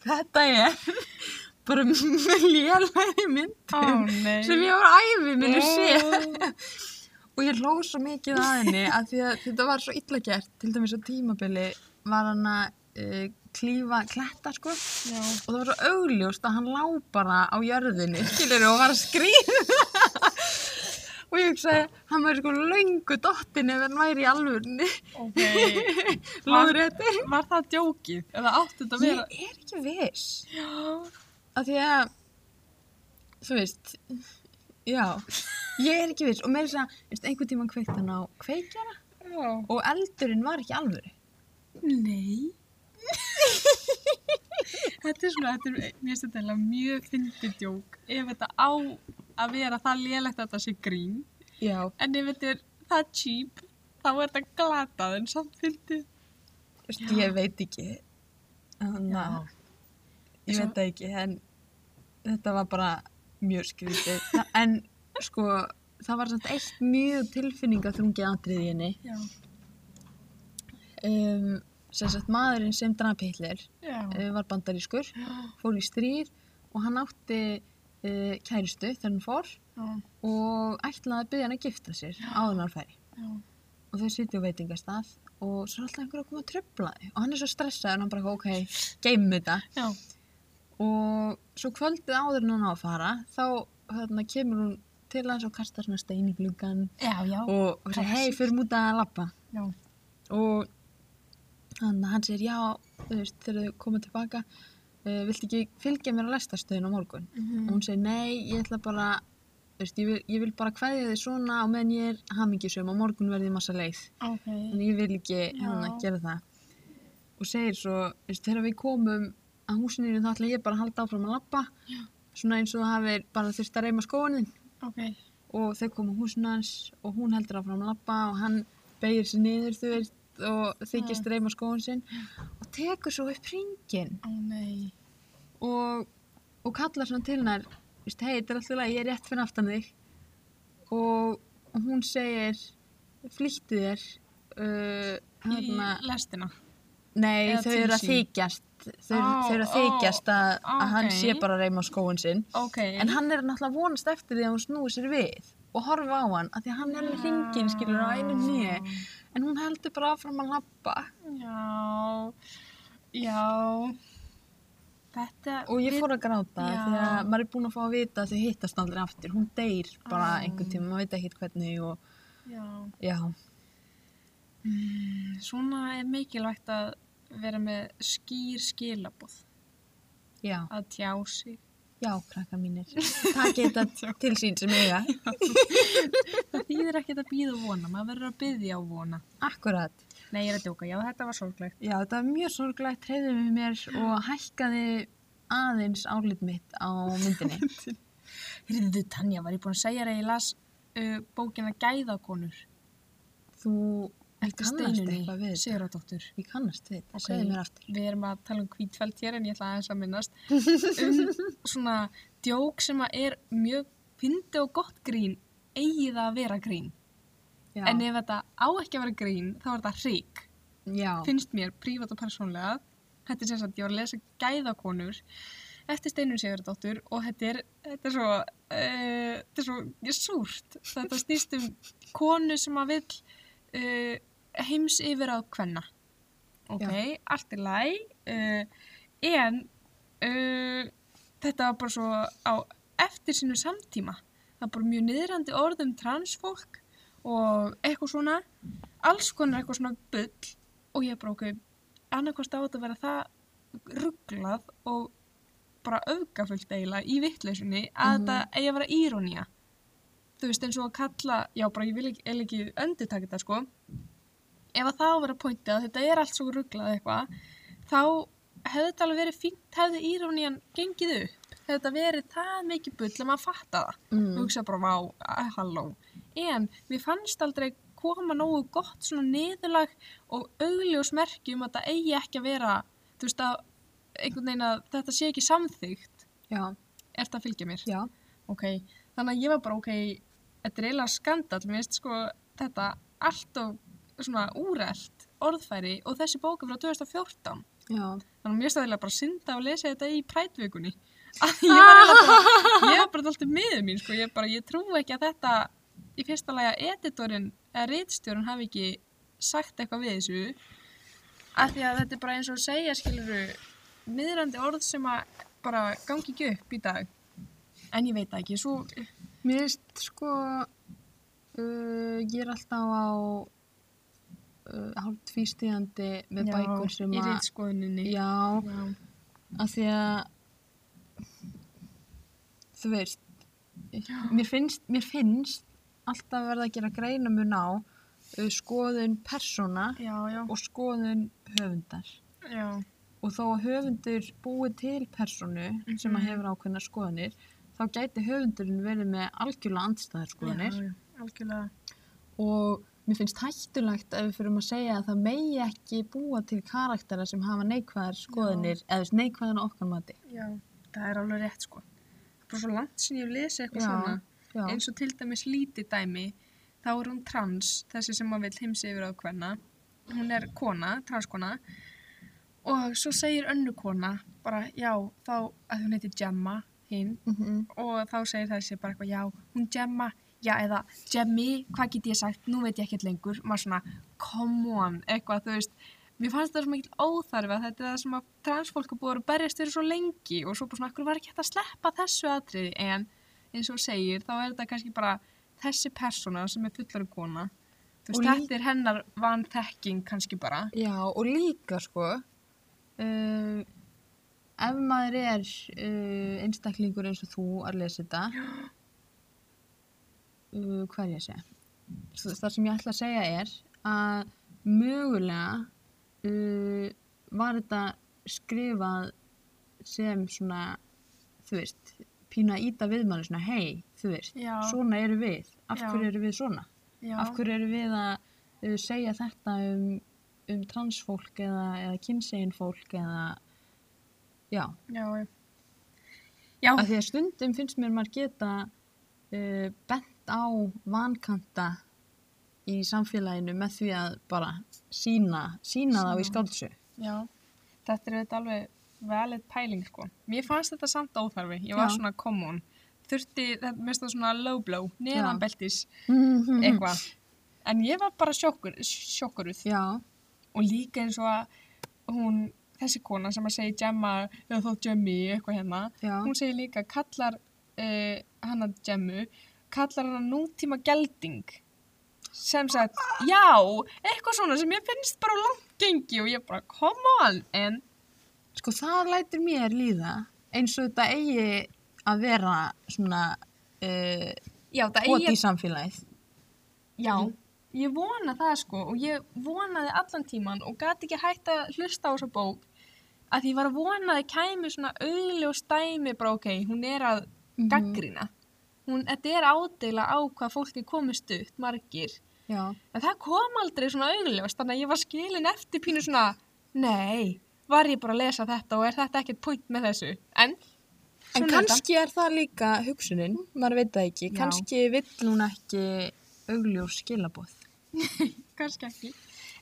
[SPEAKER 1] Þetta er bara lélæri mynd
[SPEAKER 2] ó nei
[SPEAKER 1] sem ég var æfið minni séð.
[SPEAKER 2] sé
[SPEAKER 1] Og ég hló svo mikið að henni að því að þetta var svo illa gert, til dæmis á tímabili var hann að uh, klífa kletta sko og
[SPEAKER 2] já,
[SPEAKER 1] það var svo augljóst að hann lá bara á jörðinu, skilur og var að skrýða. og ég hugsaði, hann væri sko löngu dottinn ef hann væri í alvörni,
[SPEAKER 2] ok
[SPEAKER 1] lóður þetta.
[SPEAKER 2] var það djókið? eða átti þetta að
[SPEAKER 1] Ég
[SPEAKER 2] vera
[SPEAKER 1] er ekki viss,
[SPEAKER 2] já,
[SPEAKER 1] að því að, þú veist, já, ég er ekki viss og meira þess að, segja, veist, einhvern tímann kveikt hann á kveikjara
[SPEAKER 2] já
[SPEAKER 1] og eldurinn var ekki alvöru.
[SPEAKER 2] nei þetta er svona þetta er, mér finnst þetta eiginlega mjög fyndið djók ef þetta á að vera það lélegt að þetta sé grín
[SPEAKER 1] Já,
[SPEAKER 2] En ef þetta er það cheap, þá er þetta glatað en samt fyndið.
[SPEAKER 1] Veist, ég veit ekki þannig að ég
[SPEAKER 2] Svo-
[SPEAKER 1] veit það ekki en þetta var bara mjög skrítið Þa- en sko það var samt eitt mjög tilfinningaþrungið atrið í henni
[SPEAKER 2] Já.
[SPEAKER 1] um, sem sagt maðurinn sem draf Hitler
[SPEAKER 2] Já.
[SPEAKER 1] uh, var bandarískur fór í stríð og hann átti uh, kæristu þegar hann fór
[SPEAKER 2] Já.
[SPEAKER 1] og ætlaði að byggja hann að gifta sér áður en hann færi
[SPEAKER 2] Já.
[SPEAKER 1] og þau sitja á veitingastað og svo er alltaf einhver að koma að tröfla þau og hann er svo stressaður og hann bara ok, geymum þetta
[SPEAKER 2] Já.
[SPEAKER 1] og svo kvöldið áður en hann á að fara þá hérna, kemur hún til hans og kastar svona stein í gluggan
[SPEAKER 2] Já, já.
[SPEAKER 1] og, og segir hei,
[SPEAKER 2] Klassískt.
[SPEAKER 1] fyrir múta að lappa
[SPEAKER 2] Já.
[SPEAKER 1] og hann, hann segir já, þú veist, þegar þau koma tilbaka uh, vilt ekki fylgja mér á lestastöðin á morgun og
[SPEAKER 2] Mhm.
[SPEAKER 1] hún segir nei, ég ætla bara þú veist, ég vil, ég vil bara kveðja þig svona og meðan ég er hamingisum og morgun verði massa leið
[SPEAKER 2] Ok.
[SPEAKER 1] en ég vil ekki hérna
[SPEAKER 2] Já.
[SPEAKER 1] gera það og segir svo, veist, þegar við komum að húsininu þá ætla ég bara að halda áfram að lappa svona eins og það hafi bara þurft að reyma skóanin
[SPEAKER 2] Ok.
[SPEAKER 1] og þau koma húsinu hans og hún heldur áfram að lappa og hann beigir sér niður þú veist og þykist reyma skóan sinn og tekur svo upp ringin
[SPEAKER 2] Ó nei.
[SPEAKER 1] og, og kallar svona til hennar veist, hei, þetta er alltaf lega, ég er rétt fyrir aftan þig og, og hún segir flýttu þér uh, hérna,
[SPEAKER 2] Í lestina.
[SPEAKER 1] Nei,
[SPEAKER 2] Eða
[SPEAKER 1] þau
[SPEAKER 2] til
[SPEAKER 1] eru að
[SPEAKER 2] sín.
[SPEAKER 1] þykjast þau,
[SPEAKER 2] Á,
[SPEAKER 1] þau eru að
[SPEAKER 2] ó,
[SPEAKER 1] þykjast að, að hann
[SPEAKER 2] ókei.
[SPEAKER 1] sé bara að reyma á skóin sinn
[SPEAKER 2] Ok.
[SPEAKER 1] en hann er náttúrulega vonast eftir því að hún snúi sér við og horfa á hann, af því að hann er með hringin skilur á einu nýju en hún heldur bara áfram að labba
[SPEAKER 2] Já. Já. þetta
[SPEAKER 1] og ég
[SPEAKER 2] við-
[SPEAKER 1] fór að gráta
[SPEAKER 2] Já.
[SPEAKER 1] því að maður er búin að fá að vita að þau hittast aldrei aftur hún deyr bara
[SPEAKER 2] Á.
[SPEAKER 1] einhvern tíma, maður veit ekkert hvernig og
[SPEAKER 2] já,
[SPEAKER 1] já,
[SPEAKER 2] svona er mikilvægt að vera með skýr skilabóð
[SPEAKER 1] já,
[SPEAKER 2] að tjá sig
[SPEAKER 1] já, krakkar mínir það geta til sín sem eiga
[SPEAKER 2] það þýðir ekkert að býða og vona maður verður að byggja og vona
[SPEAKER 1] akkurat,
[SPEAKER 2] nei, ég er að djóka, já þetta var sorglegt
[SPEAKER 1] já, þetta var mjög sorglegt treyðið við mér og hækkaði aðeins álit mitt á myndinni
[SPEAKER 2] hérðu Tanja, var ég búin að segja þér að ég las uh, bókina Gæðakonur
[SPEAKER 1] þú
[SPEAKER 2] eftir
[SPEAKER 1] kannast
[SPEAKER 2] Steinunni
[SPEAKER 1] eitthvað við þetta.
[SPEAKER 2] Siguradóttur
[SPEAKER 1] ég kannast við þetta,
[SPEAKER 2] Ok.
[SPEAKER 1] segðu mér aftur
[SPEAKER 2] við erum að tala um hvítfælt hér en ég ætla aðeins að minnast um svona djók sem að er mjög fyndi og gott grín eigi það að vera grín
[SPEAKER 1] já,
[SPEAKER 2] en ef þetta á ekki að vera grín þá er þetta hrík
[SPEAKER 1] já,
[SPEAKER 2] finnst mér prívat og persónlega þetta er sem sagt, ég var að lesa gæðakonur eftir Steinun Sigurdóttur og þetta er, þetta er svo uh, þetta er svo ég, súrt þetta snýst um konu sem að vil uh, heims yfir að kvenna ok, allt er læg uh, en uh, þetta var bara svo á eftir sínu samtíma það er bara mjög niðrandi orð um transfólk og eitthvað svona alls konar eitthvað svona bull og ég bara okkur annarkvæmst á þetta að vera það rugglað og bara öfgafullt eiginlega í vittleysunni að
[SPEAKER 1] Mhm.
[SPEAKER 2] þetta eigi að vera írónía þú veist eins og að kalla já bara ég vil ekki, vil ekki öndutaka þetta sko ef að það á að vera pointið að þetta er allt svo rugglað eitthvað þá hefði þetta alveg verið fínt hefði írónían gengið upp hefði þetta verið það mikið bull að maður fatta það og
[SPEAKER 1] mm.
[SPEAKER 2] hugsa bara, vá, ah, halló. En mér fannst aldrei koma nógu gott svona niðurlag og augljós merki um að það eigi ekki að vera, þú veist að einhvern veginn að þetta sé ekki samþygt,
[SPEAKER 1] já,
[SPEAKER 2] er þetta að fylgja mér?
[SPEAKER 1] já,
[SPEAKER 2] Ok, þannig að ég var bara, ok, þetta er eiginlega skandal, mér finnst sko þetta allt og svona úrelt orðfæri og þessi bóka frá 2014.
[SPEAKER 1] já
[SPEAKER 2] Þannig að mér staðilega bara synda og lesa þetta í prætvikunni. Að Ég var eiginlega bara, ég var bara alltaf miður mín, sko. Ég bara, ég trúi ekki að þetta, í fyrsta lagi að editorinn eða rítstjórinn hafi ekki sagt eitthvað við þessu. Af því að þetta er bara eins og að segja, skiluru, miðrandi orð sem að bara gangi ekki upp í dag. En ég veit það ekki, svo,
[SPEAKER 1] Mér finnst sko, uh, ég er alltaf á uh, hálf tvístíðandi með bækur sem
[SPEAKER 2] í
[SPEAKER 1] að,
[SPEAKER 2] rítskoðuninni.
[SPEAKER 1] já,
[SPEAKER 2] Já.
[SPEAKER 1] af því að, þú veist, mér finnst, mér finnst alltaf verða að gera greinamun á uh, skoðun persóna
[SPEAKER 2] Já, já,
[SPEAKER 1] og skoðun höfundar.
[SPEAKER 2] já,
[SPEAKER 1] Og þó að höfundur búi til persónu sem að
[SPEAKER 2] Mhm.
[SPEAKER 1] hefur ákveðna skoðunir, þá gæti höfundurinn verið með algjörlega andstæðar skoðunir.
[SPEAKER 2] já, algjörlega.
[SPEAKER 1] og mér finnst hættulegt ef við fyrirum að segja að það megi ekki búa til karaktera sem hafa neikvæðar skoðinir eða þú veist, neikvæðan á okkar mati
[SPEAKER 2] Já, það er alveg rétt, sko. Það er bara svo langt sem ég hef lesið eitthvað
[SPEAKER 1] Já.
[SPEAKER 2] svona.
[SPEAKER 1] já,
[SPEAKER 2] eins og til dæmis lítið dæmi þá er hún trans, þessi sem maður vil heimsi yfir á hvenna hún er kona, transkona og svo segir önnu kona bara já, þá að hún heiti Gemma hinn
[SPEAKER 1] mhm,
[SPEAKER 2] og þá segir þessi bara eitthvað já, hún Gemma já eða Gemmi, hvað get ég sagt nú veit ég ekkert lengur, maður svona come on, eitthvað, þú veist mér fannst það svo mikil óþarfi að þetta er það sem að transfólk er búið að berjast fyrir svo lengi og svo bara svona, akkur var ekki hægt að sleppa þessu atriði en eins og þú segir, þá er þetta kannski bara þessi persóna sem er fullari kona þú veist,
[SPEAKER 1] Og lí-
[SPEAKER 2] þetta er hennar vanþekking kannski bara
[SPEAKER 1] já, og líka sko uh, ef maður er uh, einstaklingur eins og þú að lesa þetta uh, hvað er ég að segja Svo það sem ég ætla að segja er að mögulega uh, var þetta skrifað sem svona þú veist, pína að íta við manni svona hei, þú veist,
[SPEAKER 2] Já.
[SPEAKER 1] svona eru við af
[SPEAKER 2] Já.
[SPEAKER 1] hverju eru við svona
[SPEAKER 2] já,
[SPEAKER 1] af hverju eru við að uh, segja þetta um, um transfólk eða, eða kynsegin fólk eða já,
[SPEAKER 2] já, já,
[SPEAKER 1] af því að stundum finnst mér maður geta uh, bent á vankanta í samfélaginu með því að bara sína, sína þá í
[SPEAKER 2] Sýna.
[SPEAKER 1] skáldsö
[SPEAKER 2] Já, þetta er auðvitað alveg valid pæling sko. Mér fannst þetta samt óþarfi, ég var
[SPEAKER 1] Já.
[SPEAKER 2] svona common. Þurfti, þetta mér stóð svona low blow, neðanbeltis,
[SPEAKER 1] Mhm.
[SPEAKER 2] eitthvað. En ég var bara sjokkur, sjokkuruð
[SPEAKER 1] Já,
[SPEAKER 2] og líka eins og að hún þessi kona sem að segja Gemma eða þó Jemmy eitthvað hérna
[SPEAKER 1] Já.
[SPEAKER 2] hún segir líka kallar uh, hann að Gemmu kallar hann nútíma gelding sem sagt, já eitthvað svona sem ég finnst bara langt gengi og ég bara, come on en
[SPEAKER 1] Sko það lætir mér líða eins og þetta eigi að vera svona uh,
[SPEAKER 2] já, það
[SPEAKER 1] hot í samfélagið.
[SPEAKER 2] Já, ég vona það sko og ég vonaði allan tíman og gati ekki hægt að hlusta á þessa bók að ég var að vona að það kæmi svona auðljós dæmi bara ok, hún er að
[SPEAKER 1] Mhm.
[SPEAKER 2] gaggrina. Hún, þetta er ádeila á hvað fólki komist upp, margir.
[SPEAKER 1] Mhm, Já.
[SPEAKER 2] En það kom aldrei svona auðljós, þannig að ég var skilin eftir pínu svona, nei, var ég bara að lesa þetta og er þetta ekkert punkt með þessu? En,
[SPEAKER 1] En
[SPEAKER 2] svona er þetta.
[SPEAKER 1] kannski er það líka hugsunin, maður veit það ekki.
[SPEAKER 2] Já.
[SPEAKER 1] Kannski vill hún ekki augljós skilabóð.
[SPEAKER 2] kannski ekki.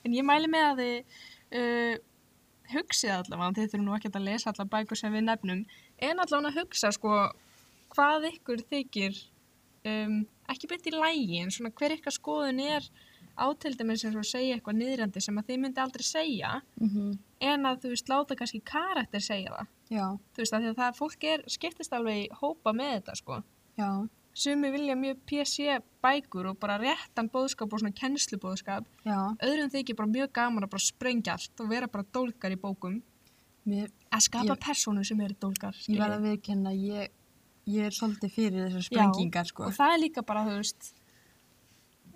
[SPEAKER 2] En ég mæli með að þið uh, hugsið allavega, þið þurfum nú ekkert að lesa allavega bækur sem við nefnum, en allavega að hugsa sko hvað ykkur þykir, um, ekki beint í lægi, en svona hver ykkar skoðun er átildið með sem svo segja eitthvað niðrandi sem að þið myndi aldrei segja,
[SPEAKER 1] Mm -hmm.
[SPEAKER 2] en að þú veist láta kannski karakter segja það.
[SPEAKER 1] Já,
[SPEAKER 2] Þú veist að því að það fólk er, skiptist alveg í hópa með þetta sko.
[SPEAKER 1] já,
[SPEAKER 2] Sumi vilja mjög PC bækur og bara réttan bóðskap og svona kennslubóðskap
[SPEAKER 1] já.
[SPEAKER 2] öðrum þykir bara mjög gaman að bara sprengja allt og vera bara dólkar í bókum
[SPEAKER 1] Mér,
[SPEAKER 2] að skapa
[SPEAKER 1] Ég-
[SPEAKER 2] persónu sem eru dólkar
[SPEAKER 1] ég
[SPEAKER 2] skilurðu.
[SPEAKER 1] verð að viðkenna, ég, ég er svolítið fyrir þessar
[SPEAKER 2] Já,
[SPEAKER 1] sprengingar, sko.
[SPEAKER 2] og það er líka bara, þú veist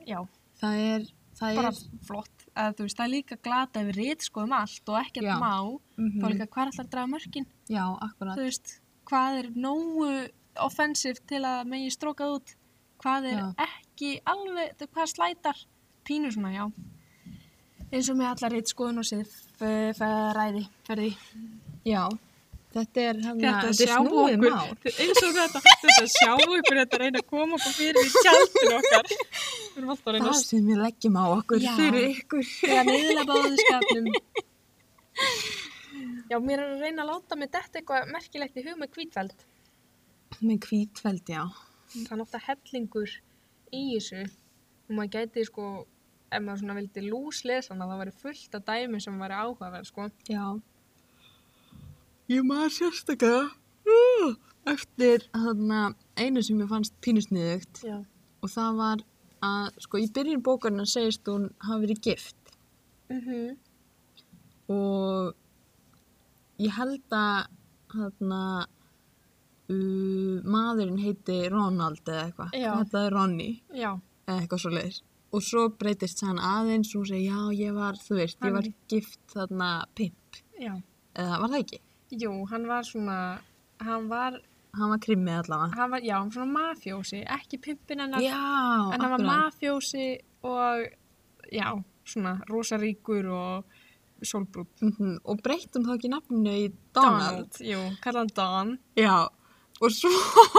[SPEAKER 2] já,
[SPEAKER 1] Það er, það
[SPEAKER 2] bara
[SPEAKER 1] er,
[SPEAKER 2] flott að, þú veist, það er líka glata yfir rít skoðum allt og ekkert
[SPEAKER 1] Já.
[SPEAKER 2] má
[SPEAKER 1] Mhm.
[SPEAKER 2] þá er líka hvað er alltaf að draga mörkin
[SPEAKER 1] já, akkurat.
[SPEAKER 2] þú veist, hvað er nógu offensiv til að megi strókað út hvað er
[SPEAKER 1] Já.
[SPEAKER 2] ekki alveg, þú- hvað slætar pínu svona, já eins og með allar rít skoðun og síð ræði, ferði
[SPEAKER 1] Já, þetta er hann
[SPEAKER 2] þetta að sjá okkur
[SPEAKER 1] mál.
[SPEAKER 2] eins og þetta, þetta að sjá okkur þetta að reyna að koma okkur fyrir í tjaldinu okkar við erum alltaf að reyna
[SPEAKER 1] Það sem við leggjum á okkur
[SPEAKER 2] Já.
[SPEAKER 1] fyrir ykkur.
[SPEAKER 2] að neðla báðuskapnum já, mér er að reyna að láta mig detta eitthvað merkilegt í hug með kvítfæld
[SPEAKER 1] Með hvítfeld, já.
[SPEAKER 2] það er náttúrulega hellingur í þessu og maður gæti sko ef maður svona vildi lúslesa hana það væri fullt af dæmi sem væri áhugaverð sko.
[SPEAKER 1] Já. Ég maður sérstaklega uh, eftir þarna einu sem ég fannst pínusniðugt
[SPEAKER 2] já,
[SPEAKER 1] og það var að sko í byrjun bókarna segist hún hafi verið gift
[SPEAKER 2] mm -hmm.
[SPEAKER 1] og ég held að þarna uh, maðurinn heiti Ronald eða eitthvað.
[SPEAKER 2] Já.
[SPEAKER 1] Þetta er Ronny.
[SPEAKER 2] já.
[SPEAKER 1] eða eitthvað svo leiðis og svo breytist hann aðeins og hún segir já ég var, þú veist, ég var
[SPEAKER 2] Hann-
[SPEAKER 1] gift þarna pimp,
[SPEAKER 2] já
[SPEAKER 1] eða var það ekki
[SPEAKER 2] jú, hann var svona hann var
[SPEAKER 1] hann var krimmið allavega
[SPEAKER 2] hann var, já, hann var svona mafjósi, ekki pimpin hennar,
[SPEAKER 1] já,
[SPEAKER 2] en hann var
[SPEAKER 1] akkurat.
[SPEAKER 2] mafjósi og, já, svona rosaríkur og sólbrúk.
[SPEAKER 1] Mhm, og breytt hún þá ekki nafninu í Donald,
[SPEAKER 2] Jú, kalla hann Don.
[SPEAKER 1] já og svo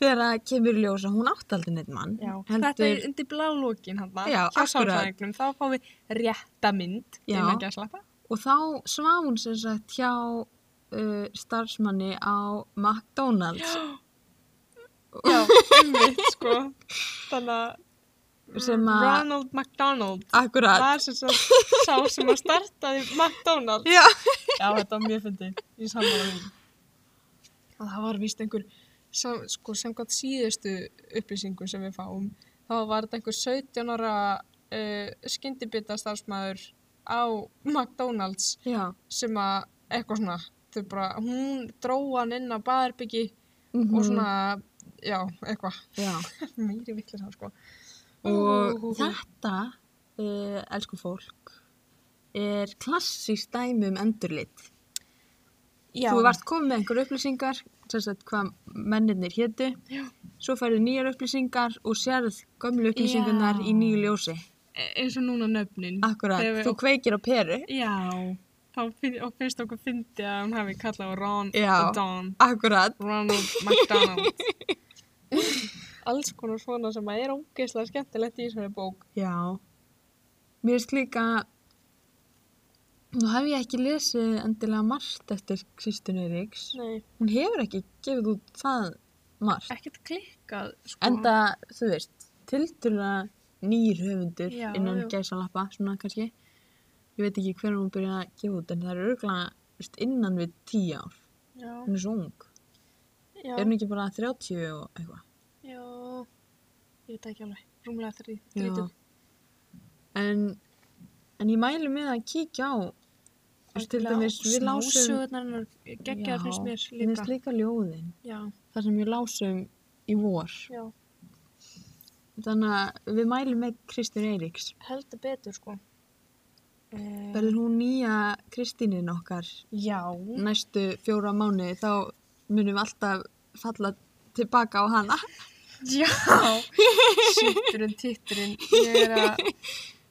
[SPEAKER 1] þegar það kemur í ljós að hún átti aldrei neitt mann
[SPEAKER 2] Þetta
[SPEAKER 1] heldur,
[SPEAKER 2] er undir blá lókin hann það.
[SPEAKER 1] Já, akkurat.
[SPEAKER 2] Þá fáum við rétta mynd,
[SPEAKER 1] Já.
[SPEAKER 2] innan ekki að slappa.
[SPEAKER 1] og þá svaf hún sem sagt hjá uh, starfsmanni á McDonalds
[SPEAKER 2] Já, einmitt, sko. Þannig að
[SPEAKER 1] Sem að-
[SPEAKER 2] Ronald McDonald
[SPEAKER 1] akkurat
[SPEAKER 2] var sem svo sá sem að startaði McDonald.
[SPEAKER 1] já,
[SPEAKER 2] Já, þetta var mjög fyndið í sammála mín. Og það var víst einhver, sem, sko, sem gott síðustu upplýsingu sem við fáum, þá var þetta einhver 17 ára uh, skyndibita starfsmæður á McDonalds
[SPEAKER 1] já.
[SPEAKER 2] sem að eitthvað svona, þau bara, hún dró hann inn á baðarbyggi
[SPEAKER 1] mhm,
[SPEAKER 2] og svona, já, eitthvað,
[SPEAKER 1] já.
[SPEAKER 2] meiri vitlis hann sko.
[SPEAKER 1] Og
[SPEAKER 2] Ú.
[SPEAKER 1] þetta, uh, elsku fólk, er klassískt dæmi um endurlit.
[SPEAKER 2] Já,
[SPEAKER 1] Þú varst komið með einhverju upplýsingar, sem sagt hvað mennirnir hétu,
[SPEAKER 2] Já.
[SPEAKER 1] svo færðu nýjar upplýsingar og sérð gömlu upplýsingarnar
[SPEAKER 2] Já.
[SPEAKER 1] í nýju ljósi.
[SPEAKER 2] e- eins og núna nöfnin.
[SPEAKER 1] Akkurat,
[SPEAKER 2] Þegar við-
[SPEAKER 1] þú kveikir á peru.
[SPEAKER 2] Já, þá finn- og finnst okkur fyndi að hún hafi kallað á Ron
[SPEAKER 1] Já.
[SPEAKER 2] og Don.
[SPEAKER 1] Akkurat,
[SPEAKER 2] Ronald McDonald. Alls konar svona sem að er ógeðslega skemmtilegt í þessari bók.
[SPEAKER 1] já. Mér finnst líka, nú hef ég ekki lesið endilega margt eftir Kristján Eiríks.
[SPEAKER 2] Nei,
[SPEAKER 1] Hún hefur ekki gefið út það margt.
[SPEAKER 2] ekkert klikkað, sko.
[SPEAKER 1] Enda, þú veist, tilturlega nýr höfundur
[SPEAKER 2] Já,
[SPEAKER 1] innan
[SPEAKER 2] já.
[SPEAKER 1] gæsalappa, svona kannski. ég veit ekki hvernig hún byrjaði að gefa út en það er örgulega innan við 10 ár
[SPEAKER 2] Já,
[SPEAKER 1] hún er svo ung,
[SPEAKER 2] já,
[SPEAKER 1] er hún ekki bara 30 og eitthvað
[SPEAKER 2] já, ég veit það ekki alveg, rúmlega þrý,
[SPEAKER 1] Já.
[SPEAKER 2] þrítug.
[SPEAKER 1] en, en ég mælu með að kíkja á þú veist, til dæmis við lásum
[SPEAKER 2] Smásögurnar hennar geggjaðar
[SPEAKER 1] Já,
[SPEAKER 2] finnst mér
[SPEAKER 1] mér
[SPEAKER 2] líka.
[SPEAKER 1] finnst líka ljóðin
[SPEAKER 2] Já,
[SPEAKER 1] þar sem við lásum í vor
[SPEAKER 2] já,
[SPEAKER 1] þannig að við mælum með Kristín Eiríks
[SPEAKER 2] heldur betur sko. Eh,
[SPEAKER 1] verður hún nýja Kristínin okkar
[SPEAKER 3] Já.
[SPEAKER 1] næstu fjóra mánuði þá munum við alltaf falla tilbaka á hana
[SPEAKER 2] Já, sýtturinn, titturinn, ég er að,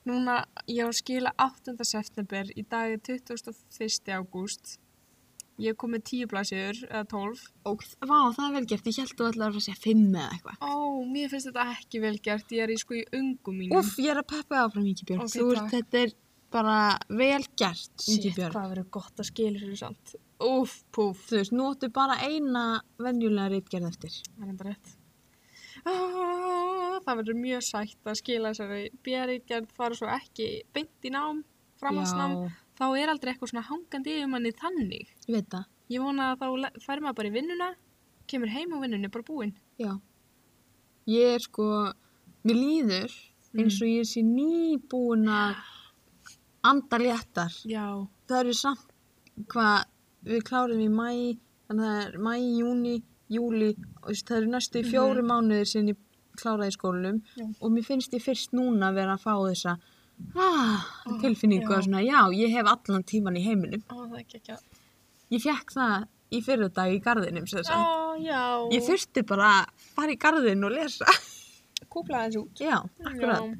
[SPEAKER 2] núna, ég á að skila 8. september, í dag er 21. ágúst, ég kom með 10 blasiður, eða 12.
[SPEAKER 1] og vá, það er vel gert, ég held þú allar að segja fimm eða eitthvað
[SPEAKER 2] Ó, mér finnst þetta ekki vel gert, ég er í sko í ungum mínum.
[SPEAKER 1] Úff, ég er að peppa það áfram Ingibjörg
[SPEAKER 2] Ok,
[SPEAKER 1] Þú ert,
[SPEAKER 2] takk.
[SPEAKER 1] þetta er bara vel gert
[SPEAKER 2] Shit,
[SPEAKER 1] Ingibjörg
[SPEAKER 2] hvað verður gott að skila þessu samt. Úf, púf,
[SPEAKER 1] Þú veist, nú áttu bara eina venjulega reitgerð eftir
[SPEAKER 2] það er enda rétt. Ah, það verður mjög sætt að skila þessari bjæriðgerð, fara svo ekki beint í nám, framhaldsnám, þá er aldrei eitthvað svona hangandi yfir manni þannig.
[SPEAKER 1] ég veit það
[SPEAKER 2] Ég vona að þá le- fær maður bara í vinnuna, kemur heim og vinnunni er bara búinn.
[SPEAKER 1] Já Ég er sko, mér líður eins og ég sé nýbúin að anda léttar
[SPEAKER 2] Já,
[SPEAKER 1] það eru samt hvað við klárum í mæ þannig að það er mæ, júni, júli og þú veist, það eru næstu
[SPEAKER 2] Mhm.
[SPEAKER 1] fjóri mánuðir sem ég kláraði í skólanum
[SPEAKER 2] Já.
[SPEAKER 1] og mér finnst ég fyrst núna vera að fá þessa ah,
[SPEAKER 2] Ó,
[SPEAKER 1] tilfinningu
[SPEAKER 2] já.
[SPEAKER 1] að svona, já, ég hef allan tíman í heiminum
[SPEAKER 2] Ó, það er ekki ekki að...
[SPEAKER 1] ég fekk það í fyrradag í garðinum sem
[SPEAKER 2] Ó,
[SPEAKER 1] sagt.
[SPEAKER 2] já.
[SPEAKER 1] ég þurfti bara að fara í garðin og lesa
[SPEAKER 2] Kúplaði þessu.
[SPEAKER 1] já, akkurat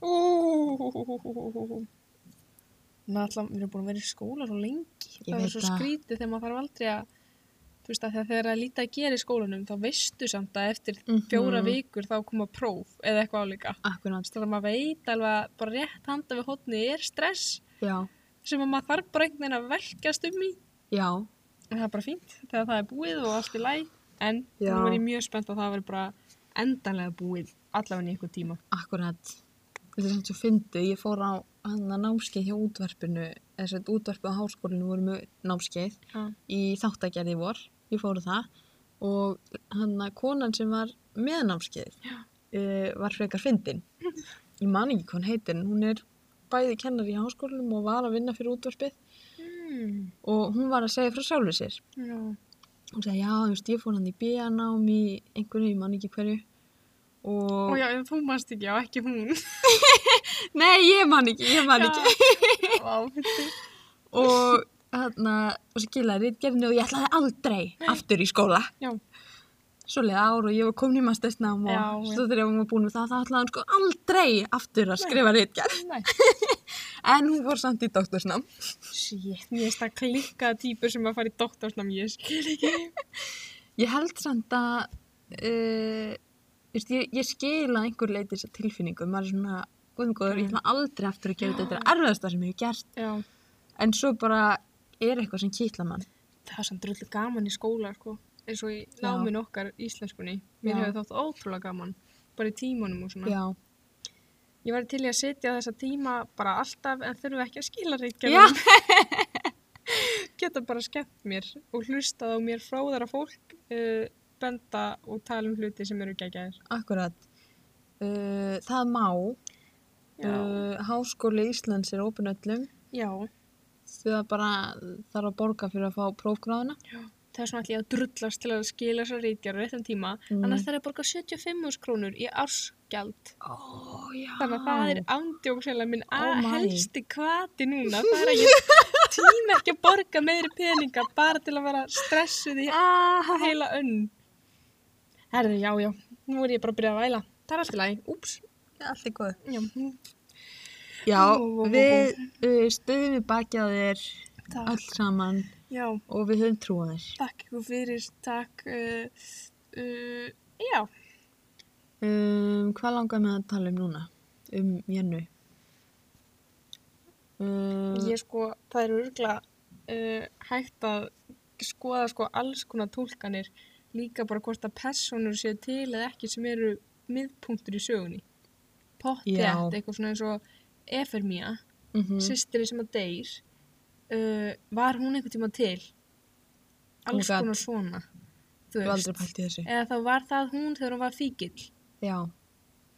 [SPEAKER 2] Ú. Náttúrulega, við erum búin að vera í skóla svo lengi.
[SPEAKER 1] Ég
[SPEAKER 2] það
[SPEAKER 1] veit
[SPEAKER 2] er svo
[SPEAKER 1] það.
[SPEAKER 2] skrítið þegar maður þarf aldrei að, þú veist að þegar það er að lítið að gera í skólanum, þá veistu samt að eftir
[SPEAKER 1] Mhm.
[SPEAKER 2] fjóra vikur þá koma próf eða eitthvað álíka.
[SPEAKER 1] akkurat,
[SPEAKER 2] Þannig að maður veit alveg að bara rétt handa við hotni er stress
[SPEAKER 1] já,
[SPEAKER 2] sem að maður þarf bara einhvern veginn að velkjast um í.
[SPEAKER 1] já
[SPEAKER 2] En það er bara fínt þegar það er búið og allt í læg. En
[SPEAKER 1] Já.
[SPEAKER 2] nú er ég mjög spennt að það verður bara endanlega búið allavega í einhver tíma.
[SPEAKER 1] Akkurat. Þetta er samt svo fyndið. Ég fór á hann að námskeið hjá útvarpinu, eða sett útvarpið á háskólinu voru með námskeið
[SPEAKER 2] Já.
[SPEAKER 1] í þáttagerði vor. Ég fór á það og hann að konan sem var með námskeið uh, var frekar fyndin. Ég man ekki hvað hún heitir en hún er bæði kennari í háskólinum og var að vinna fyrir útvarpið
[SPEAKER 2] Mm.
[SPEAKER 1] og hún var að segja frá sjálfu sér
[SPEAKER 2] Já.
[SPEAKER 1] hún sagði já, þú veist, ég fór hann í BA-nám í einhverju, ég man ekki hverju og
[SPEAKER 2] Og já, en þú manst ekki, já, ekki hún.
[SPEAKER 1] nei, ég man ekki, ég man ekki
[SPEAKER 2] Vá, fyndi.
[SPEAKER 1] og hérna, og svo gilaði rítgerðinu og ég ætlaði aldrei aftur í skóla
[SPEAKER 2] Já.
[SPEAKER 1] svo leið ár og ég var komin í maður stessnaðum
[SPEAKER 2] Já,
[SPEAKER 1] og
[SPEAKER 2] já.
[SPEAKER 1] svo þegar hún var búin með það þá ætlaði hún sko aldrei aftur að skrifa rítgerð
[SPEAKER 2] Nei.
[SPEAKER 1] en hún fór samt í doktorsnám
[SPEAKER 2] Shit, mér finnst það klikkaða típur sem að fara í doktorsnám, ég skil ekki.
[SPEAKER 1] ég held samt að uh, veist, ég, ég skil að einhver leiti þessa tilfinningu maður er svona guðmgóður, ég
[SPEAKER 2] Mm.
[SPEAKER 1] ætla aldrei aftur að gera þetta þetta er erfiðasta sem ég hef gert
[SPEAKER 2] Já.
[SPEAKER 1] en svo bara er eitthvað sem kýtla mann
[SPEAKER 2] Það er samt drullu gaman í skóla, sko. Eins og í
[SPEAKER 1] Já.
[SPEAKER 2] námin okkar íslenskunni. Mér
[SPEAKER 1] Já.
[SPEAKER 2] hefur þótt ótrúlega gaman. Bara í tímanum og svona.
[SPEAKER 1] já,
[SPEAKER 2] Ég var til í að setja þessa tíma bara alltaf en þurfu ekki að skila
[SPEAKER 1] já,
[SPEAKER 2] reykjarum. Geta bara skemmt mér og hlustað á mér fróðara fólk, uh, benda og tala um hluti sem eru geggjaðir.
[SPEAKER 1] akkurat uh, það má Uh, Háskóli Íslands er ópen öllum
[SPEAKER 2] Eh, Já.
[SPEAKER 1] því að bara þarf að borga fyrir að fá prófgráðuna.
[SPEAKER 2] Það er svona allir að drullast til að skila þessar reykjarum réttan tíma.
[SPEAKER 1] Mm.
[SPEAKER 2] Annars þarf að borga 75 þúsund krónur í ársgjald.
[SPEAKER 1] Ó, já.
[SPEAKER 2] Þannig að það er ándjókslega minn
[SPEAKER 1] Oh
[SPEAKER 2] Ah. oh
[SPEAKER 1] my.
[SPEAKER 2] helsti kvati núna. Það er að ég tíma ekki að borga meiri peninga bara til að vera stressuð í
[SPEAKER 1] Ah,
[SPEAKER 2] heila önn. Herðu, já, já, nú er ég bara að byrja að væla. Það er allt í lagi, úps.
[SPEAKER 1] allt er góð.
[SPEAKER 2] Já,
[SPEAKER 1] Já,
[SPEAKER 2] Ó, ó, ó, ó.
[SPEAKER 1] við uh, stöðum við bakið á þér
[SPEAKER 2] takk.
[SPEAKER 1] öll saman
[SPEAKER 2] Já,
[SPEAKER 1] og við höfum trú á þér.
[SPEAKER 2] takk ykkur fyrir, takk. Uh, uh, já,
[SPEAKER 1] Um, hvað langar með að tala um núna? Um Jennu? Um,
[SPEAKER 2] ég sko, það eru örgla uh, hægt að skoða sko alls konar tólkanir líka bara hvort að personur séu til eða ekki sem eru miðpunktur í sögunni. Pottjætt,
[SPEAKER 1] Já.
[SPEAKER 2] eitthvað svona eins og efermía.
[SPEAKER 1] Mm -hmm.
[SPEAKER 2] systri sem að deyr uh, var hún einhvern tíma til alls
[SPEAKER 1] gat-
[SPEAKER 2] konar svona þú
[SPEAKER 1] Ég hef
[SPEAKER 2] veist
[SPEAKER 1] aldrei pælt í þessu.
[SPEAKER 2] eða þá var það hún þegar hún var fíkil
[SPEAKER 1] Já,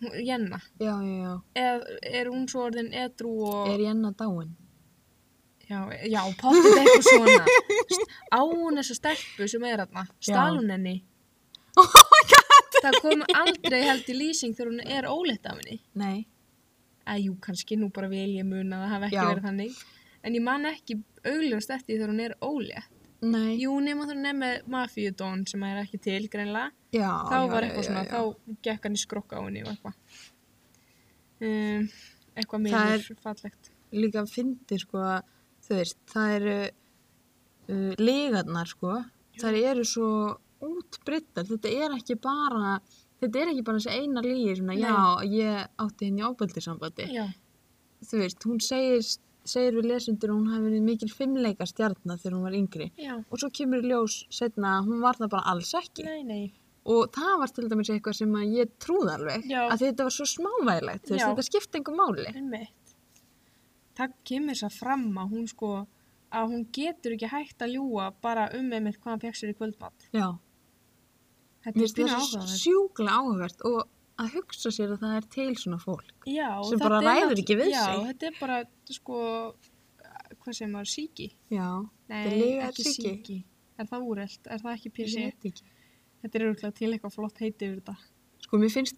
[SPEAKER 2] hún, Jenna
[SPEAKER 1] já, já, já.
[SPEAKER 2] eða er hún svo orðin edru og
[SPEAKER 1] Er Jenna dáin?
[SPEAKER 2] já, já pottið eitthvað svona St- á hún þessa stelpu sem er þarna
[SPEAKER 1] Já.
[SPEAKER 2] stálun henni
[SPEAKER 1] Oh
[SPEAKER 2] my god það kom aldrei held í lýsing þegar hún er ólétt af henni
[SPEAKER 1] Nei.
[SPEAKER 2] að jú, kannski nú bara vil ég muna að það hafi ekki
[SPEAKER 1] Já.
[SPEAKER 2] verið þannig en ég man ekki augljóst eftir því þegar hún er ólétt
[SPEAKER 1] Nei.
[SPEAKER 2] Jú, nema þú nefn með mafíudón sem er ekki til greinlega.
[SPEAKER 1] Já,
[SPEAKER 2] þá
[SPEAKER 1] já,
[SPEAKER 2] var
[SPEAKER 1] já,
[SPEAKER 2] eitthvað
[SPEAKER 1] já,
[SPEAKER 2] svona,
[SPEAKER 1] já.
[SPEAKER 2] þá gekk hann í skrokka á henni og eitthvað. Um, eitthvað
[SPEAKER 1] Það
[SPEAKER 2] meður fallegt.
[SPEAKER 1] líka fyndi sko að, þú veist, það eru uh, legarnar sko það eru svo útbryttar þetta er ekki bara þetta er ekki bara þessi eina lígi svona,
[SPEAKER 2] Nei.
[SPEAKER 1] já, ég átti henni ábæltisambandi
[SPEAKER 2] Já,
[SPEAKER 1] þú veist, hún segir, segir við lesendur að hún hafi verið mikil fimmleika stjarnar þegar hún var yngri
[SPEAKER 2] já,
[SPEAKER 1] og svo kemur í ljós setna að hún var það bara alls ekki
[SPEAKER 2] nei, nei.
[SPEAKER 1] og það var til dæmis eitthvað sem að ég trúði alveg
[SPEAKER 2] Já.
[SPEAKER 1] að þetta var svo smávægilegt þú veist,
[SPEAKER 2] Já.
[SPEAKER 1] þetta skipti engum máli
[SPEAKER 2] Einmitt. Það kemur þess að fram að hún sko, að hún getur ekki hægt að ljúa bara um einmitt hvað hann fekk sér í kvöldmatt.
[SPEAKER 1] já
[SPEAKER 2] Þetta
[SPEAKER 1] Mér
[SPEAKER 2] er býna
[SPEAKER 1] finnst það
[SPEAKER 2] áhugaverð.
[SPEAKER 1] sjúklega áhugavert og að hugsa sér að það er til svona fólk.
[SPEAKER 2] Já,
[SPEAKER 1] sem
[SPEAKER 2] þetta
[SPEAKER 1] bara
[SPEAKER 2] er
[SPEAKER 1] ræður
[SPEAKER 2] náttú-
[SPEAKER 1] ekki við
[SPEAKER 2] já,
[SPEAKER 1] sig.
[SPEAKER 2] Já, þetta er bara, sko, hvað segir maður, síki?
[SPEAKER 1] Já,
[SPEAKER 2] Nei,
[SPEAKER 1] er lygar
[SPEAKER 2] ekki
[SPEAKER 1] sýki.
[SPEAKER 2] sýki. Er það úrelt? Er það ekki
[SPEAKER 1] ég
[SPEAKER 2] PC?
[SPEAKER 1] veit ekki.
[SPEAKER 2] Þetta er auðvitað til eitthvað flott heiti yfir þetta.
[SPEAKER 1] Sko, mér finnst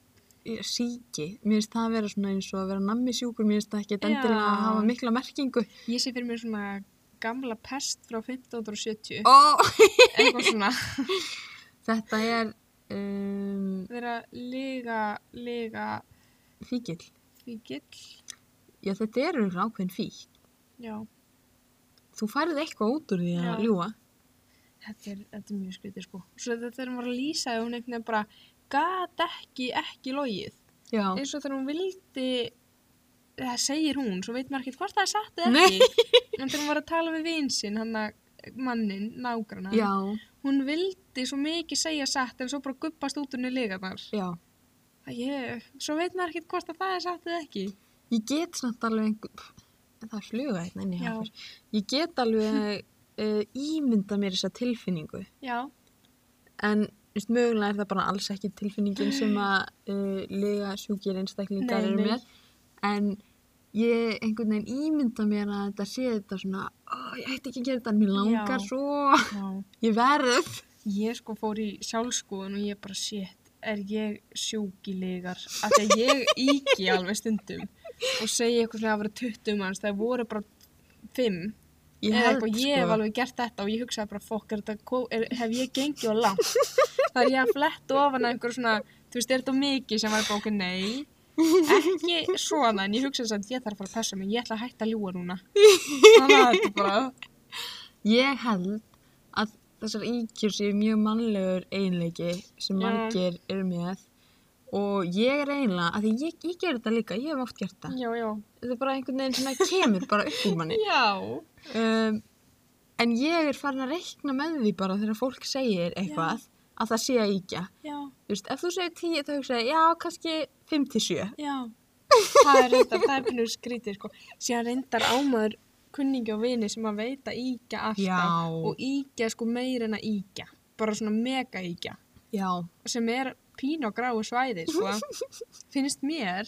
[SPEAKER 1] ég- síki, mér finnst það að vera svona eins og að vera nammi sjúkur, mér finnst það ekki
[SPEAKER 2] Já.
[SPEAKER 1] endilega að hafa mikla merkingu.
[SPEAKER 2] Ég sé fyrir mér svona gamla pest frá 1570.
[SPEAKER 1] Ó,
[SPEAKER 2] Eitthvað svona.
[SPEAKER 1] þetta er um,
[SPEAKER 2] Vera lega, lega
[SPEAKER 1] fíkil.
[SPEAKER 2] fíkill.
[SPEAKER 1] Já, þetta er einhver ákveðin fík.
[SPEAKER 2] Já,
[SPEAKER 1] Þú færið eitthvað út úr því að
[SPEAKER 2] Já.
[SPEAKER 1] ljúa.
[SPEAKER 2] þetta er, þetta er mjög skrítið sko. Svo þetta er bara að lýsa ef hún einhvern veginn bara gat ekki, ekki logið.
[SPEAKER 1] Já,
[SPEAKER 2] Eins og þegar hún vildi, það segir hún, svo veit maður ekkert hvort það er satt eða
[SPEAKER 1] Nei.
[SPEAKER 2] ekki. En þegar hún var að tala við vinsinn, hann að mannin, nágrana,
[SPEAKER 1] já,
[SPEAKER 2] hún vildi svo mikið segja satt en svo bara guppast út unni legarnar.
[SPEAKER 1] já.
[SPEAKER 2] Það Ég, svo veit maður ekkert hvort að það er satt eða ekki.
[SPEAKER 1] Ég get samt alveg einhver... pff, Það er fluga hérna inn í
[SPEAKER 2] Já.
[SPEAKER 1] hafur. Ég get alveg uh, ímynda mér þessa tilfinningu.
[SPEAKER 2] Já,
[SPEAKER 1] En veist, mögulega er það bara alls ekki tilfinningin sem að uh, lega sjúkir einstaklingar
[SPEAKER 2] Nei,
[SPEAKER 1] eru
[SPEAKER 2] nei.
[SPEAKER 1] með. En ég einhvern veginn ímynda mér að þetta sé þetta svona, oh, ég ætti ekki að gera þetta, en mér langar
[SPEAKER 2] Já.
[SPEAKER 1] svo,
[SPEAKER 2] já.
[SPEAKER 1] ég verð.
[SPEAKER 2] Ég sko fór í sjálfskoðun og ég bara sétt, er ég sjúkilegar? Af því að ég íki alveg stundum og segi eitthvað svona að vera 20 manns, það voru bara 5.
[SPEAKER 1] Ég
[SPEAKER 2] eða
[SPEAKER 1] held
[SPEAKER 2] eitthvað,
[SPEAKER 1] sko.
[SPEAKER 2] ég hef alveg gert þetta og ég hugsaði bara, fokk, er þetta, kó- er, hef ég gengið á langt? Það er ég að fletta ofan að einhver svona, þú veist, er þetta of mikið sem var bara, ok, nei, ekki svona, en ég hugsaði samt, ég þarf að fara að passa mig, ég ætla að hætta að ljúa núna. Þannig að þetta er bara,
[SPEAKER 1] Ég held að þessar íkjur séu mjög mannlegur einleiki sem
[SPEAKER 2] Já.
[SPEAKER 1] margir eru með og ég er einlega, af því ég, ég ger þetta líka, ég hef oft gert það.
[SPEAKER 2] já, já,
[SPEAKER 1] Þetta er bara einhvern veginn sem það kemur bara upp úr manni.
[SPEAKER 2] já,
[SPEAKER 1] Um, en ég er farin að reikna með því bara þegar fólk segir eitthvað að það sé að íkja.
[SPEAKER 2] já,
[SPEAKER 1] Þú veist, ef þú segir 10 þá hugsa ég, já, kannski 5 til 7.
[SPEAKER 2] já. Það er reyndar, það er pinnur skrítið, sko. Síðan reyndar ámaður kunningi og vini sem að veita íkja alltaf
[SPEAKER 1] Já.
[SPEAKER 2] og íkja sko meir en að íkja, bara svona mega íkja.
[SPEAKER 1] Já,
[SPEAKER 2] sem er pín og gráu svæði, sko, finnst mér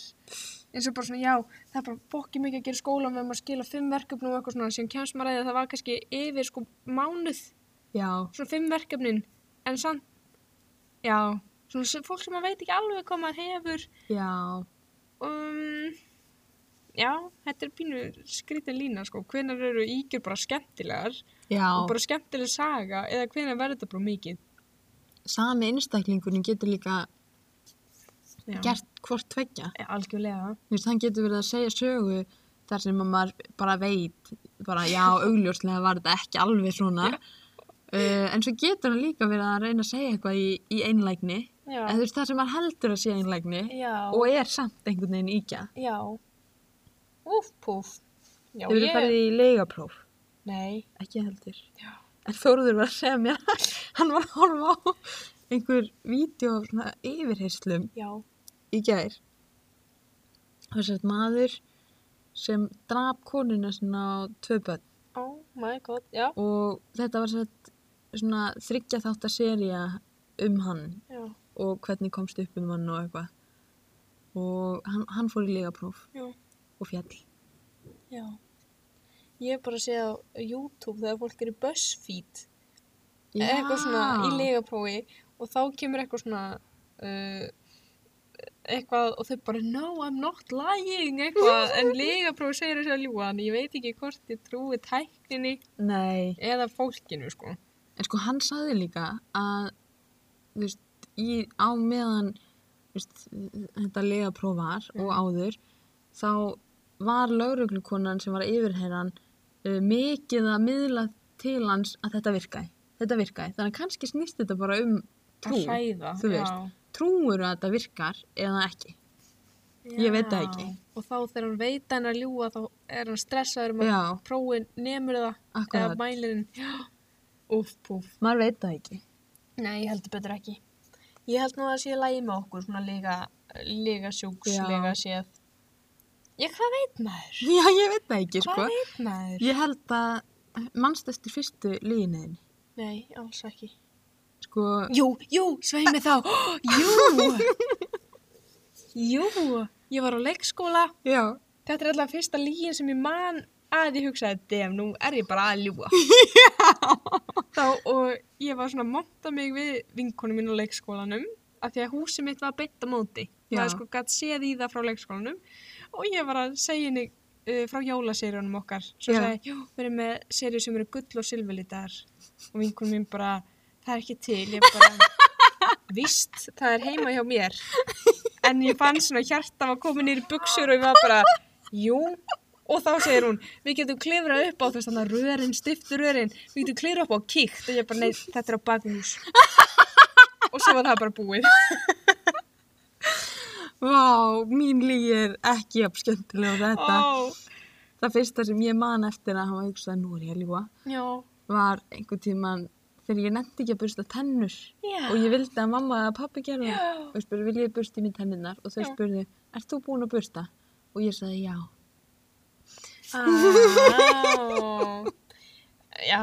[SPEAKER 2] eins og bara svona, já, það er bara bókið mikið að gera í skóla með maður að skila fimm verkefnum og eitthvað svona, sem kemst maður að því að það var kannski yfir sko mánuð,
[SPEAKER 1] já,
[SPEAKER 2] svona fimm verkefnin, en samt, já, svona sem- fólk sem maður veit ekki alveg hvað maður hefur,
[SPEAKER 1] já,
[SPEAKER 2] um, já, þetta er pínu skrítin lína, sko, hvenar eru ígjur bara skemmtilegar
[SPEAKER 1] já.
[SPEAKER 2] og bara skemmtileg saga eða hvenar verður þetta bara mikið.
[SPEAKER 1] Sami einstaklingunum getur líka
[SPEAKER 2] Já.
[SPEAKER 1] gert hvort tveggja.
[SPEAKER 2] Ja, Algjörlega.
[SPEAKER 1] Þú veist, hann getur verið að segja sögu þar sem að maður bara veit, bara já, augljóslega var þetta ekki alveg svona. Uh, en svo getur hann líka verið að reyna að segja eitthvað í, í einlægni.
[SPEAKER 2] Já.
[SPEAKER 1] En þú veist, það sem maður heldur að sé einlægni
[SPEAKER 2] Já.
[SPEAKER 1] og er samt einhvern veginn íkja.
[SPEAKER 2] Já. Úf, púf. Já,
[SPEAKER 1] Þau eru farið í leigapróf,
[SPEAKER 2] Nei.
[SPEAKER 1] ekki heldur.
[SPEAKER 2] Já.
[SPEAKER 1] En Þóruður var að segja mér að hann var að horfa á einhver vídeo af svona yfirheyslum
[SPEAKER 2] Já.
[SPEAKER 1] í gær. Og þess að maður sem draf konuna sinna á tvö börn
[SPEAKER 2] Oh my god, já.
[SPEAKER 1] og þetta var sett svona þryggja þáttar seria um hann
[SPEAKER 2] Já,
[SPEAKER 1] og hvernig komst upp um hann og eitthvað og hann, hann fór í legapróf
[SPEAKER 2] já,
[SPEAKER 1] og fjall
[SPEAKER 2] já. Ég hef bara séð á YouTube þegar fólk er í BuzzFeed eitthvað svona í legaprófi og þá kemur eitthvað svona uh, eitthvað og þau bara no I'm not lying eitthvað en legaprófi segir þess að ljúa en ég veit ekki hvort ég trúi tækninni
[SPEAKER 1] Nei,
[SPEAKER 2] eða fólkinu sko
[SPEAKER 1] en sko hann sagði líka að þú veist, í, á meðan þú veist, þetta legapróf var og áður þá var lauruglukonan sem var yfirherran uh, mikið að miðla til hans að þetta virkaði þetta virkaði, þannig að kannski snýst þetta bara um trú,
[SPEAKER 2] að hræða
[SPEAKER 1] þú veist.
[SPEAKER 2] já.
[SPEAKER 1] trúur að þetta virkar eða ekki Ég veit það
[SPEAKER 2] Já.
[SPEAKER 1] ekki.
[SPEAKER 2] og þá þegar hann veit að hann er að ljúa þá er hann stressaður um að
[SPEAKER 1] Já,
[SPEAKER 2] prófin nemur það eða
[SPEAKER 1] akkurat,
[SPEAKER 2] mælirinn úf, púf
[SPEAKER 1] maður veit það ekki
[SPEAKER 2] Nei, ég heldur betur ekki. Ég held nú að það sé lægi með okkur, svona líka, líka sjúks,
[SPEAKER 1] Já.
[SPEAKER 2] líka séð. Já, hvað veit maður?
[SPEAKER 1] Já, ég veit það ekki,
[SPEAKER 2] Hvað
[SPEAKER 1] sko
[SPEAKER 2] veit maður?
[SPEAKER 1] Ég held að mannst eftir fyrstu líðinniðin
[SPEAKER 2] Nei, alls ekki.
[SPEAKER 1] sko,
[SPEAKER 2] Jú, jú, svei mig þá. Jú! jú, ég var á leikskóla.
[SPEAKER 1] já,
[SPEAKER 2] Þetta er alltaf fyrsta lígin sem ég man að ég hugsaði, dem, nú er ég bara að ljúa. Þá, og ég var svona að monta mig við vinkonu mín á leikskólanum, af því að húsið mitt var beitt á móti.
[SPEAKER 1] Já.
[SPEAKER 2] Það er sko gætt séð í það frá leikskólanum og ég var að segja henni uh, frá jólaseríunum okkar. Svo
[SPEAKER 1] Já.
[SPEAKER 2] sagði, ég, já, við erum með seríu sem eru gull og silfurlítar og vinkonu mín bara, það er ekki til, ég bara, víst, það er heima hjá mér. En ég fann svona hjarta var komin niður í buksur og ég var bara, jú, og þá segir hún, við getum klifrað upp á þess að rörin, stiftu rörin, við getum klifrað upp á kíkt og ég bara, nei, þetta er á bakhús. og svo var það bara búið.
[SPEAKER 1] vá, mín lígi er ekki jafn skemmtilega og þetta.
[SPEAKER 2] Ó,
[SPEAKER 1] Það fyrsta sem ég man eftir að hafa hugsað nú er ég að ljúa
[SPEAKER 2] já,
[SPEAKER 1] var einhvern tíman þegar ég nefndi ekki að bursta tennur
[SPEAKER 2] já,
[SPEAKER 1] og ég vildi að mamma eða pappi gera það
[SPEAKER 2] Já.
[SPEAKER 1] og ég spurði, vil ég bursta í minn tennunar og þau
[SPEAKER 2] Já.
[SPEAKER 1] spurði, ert þú búin að bursta? Og ég sagði já.
[SPEAKER 2] Á, já,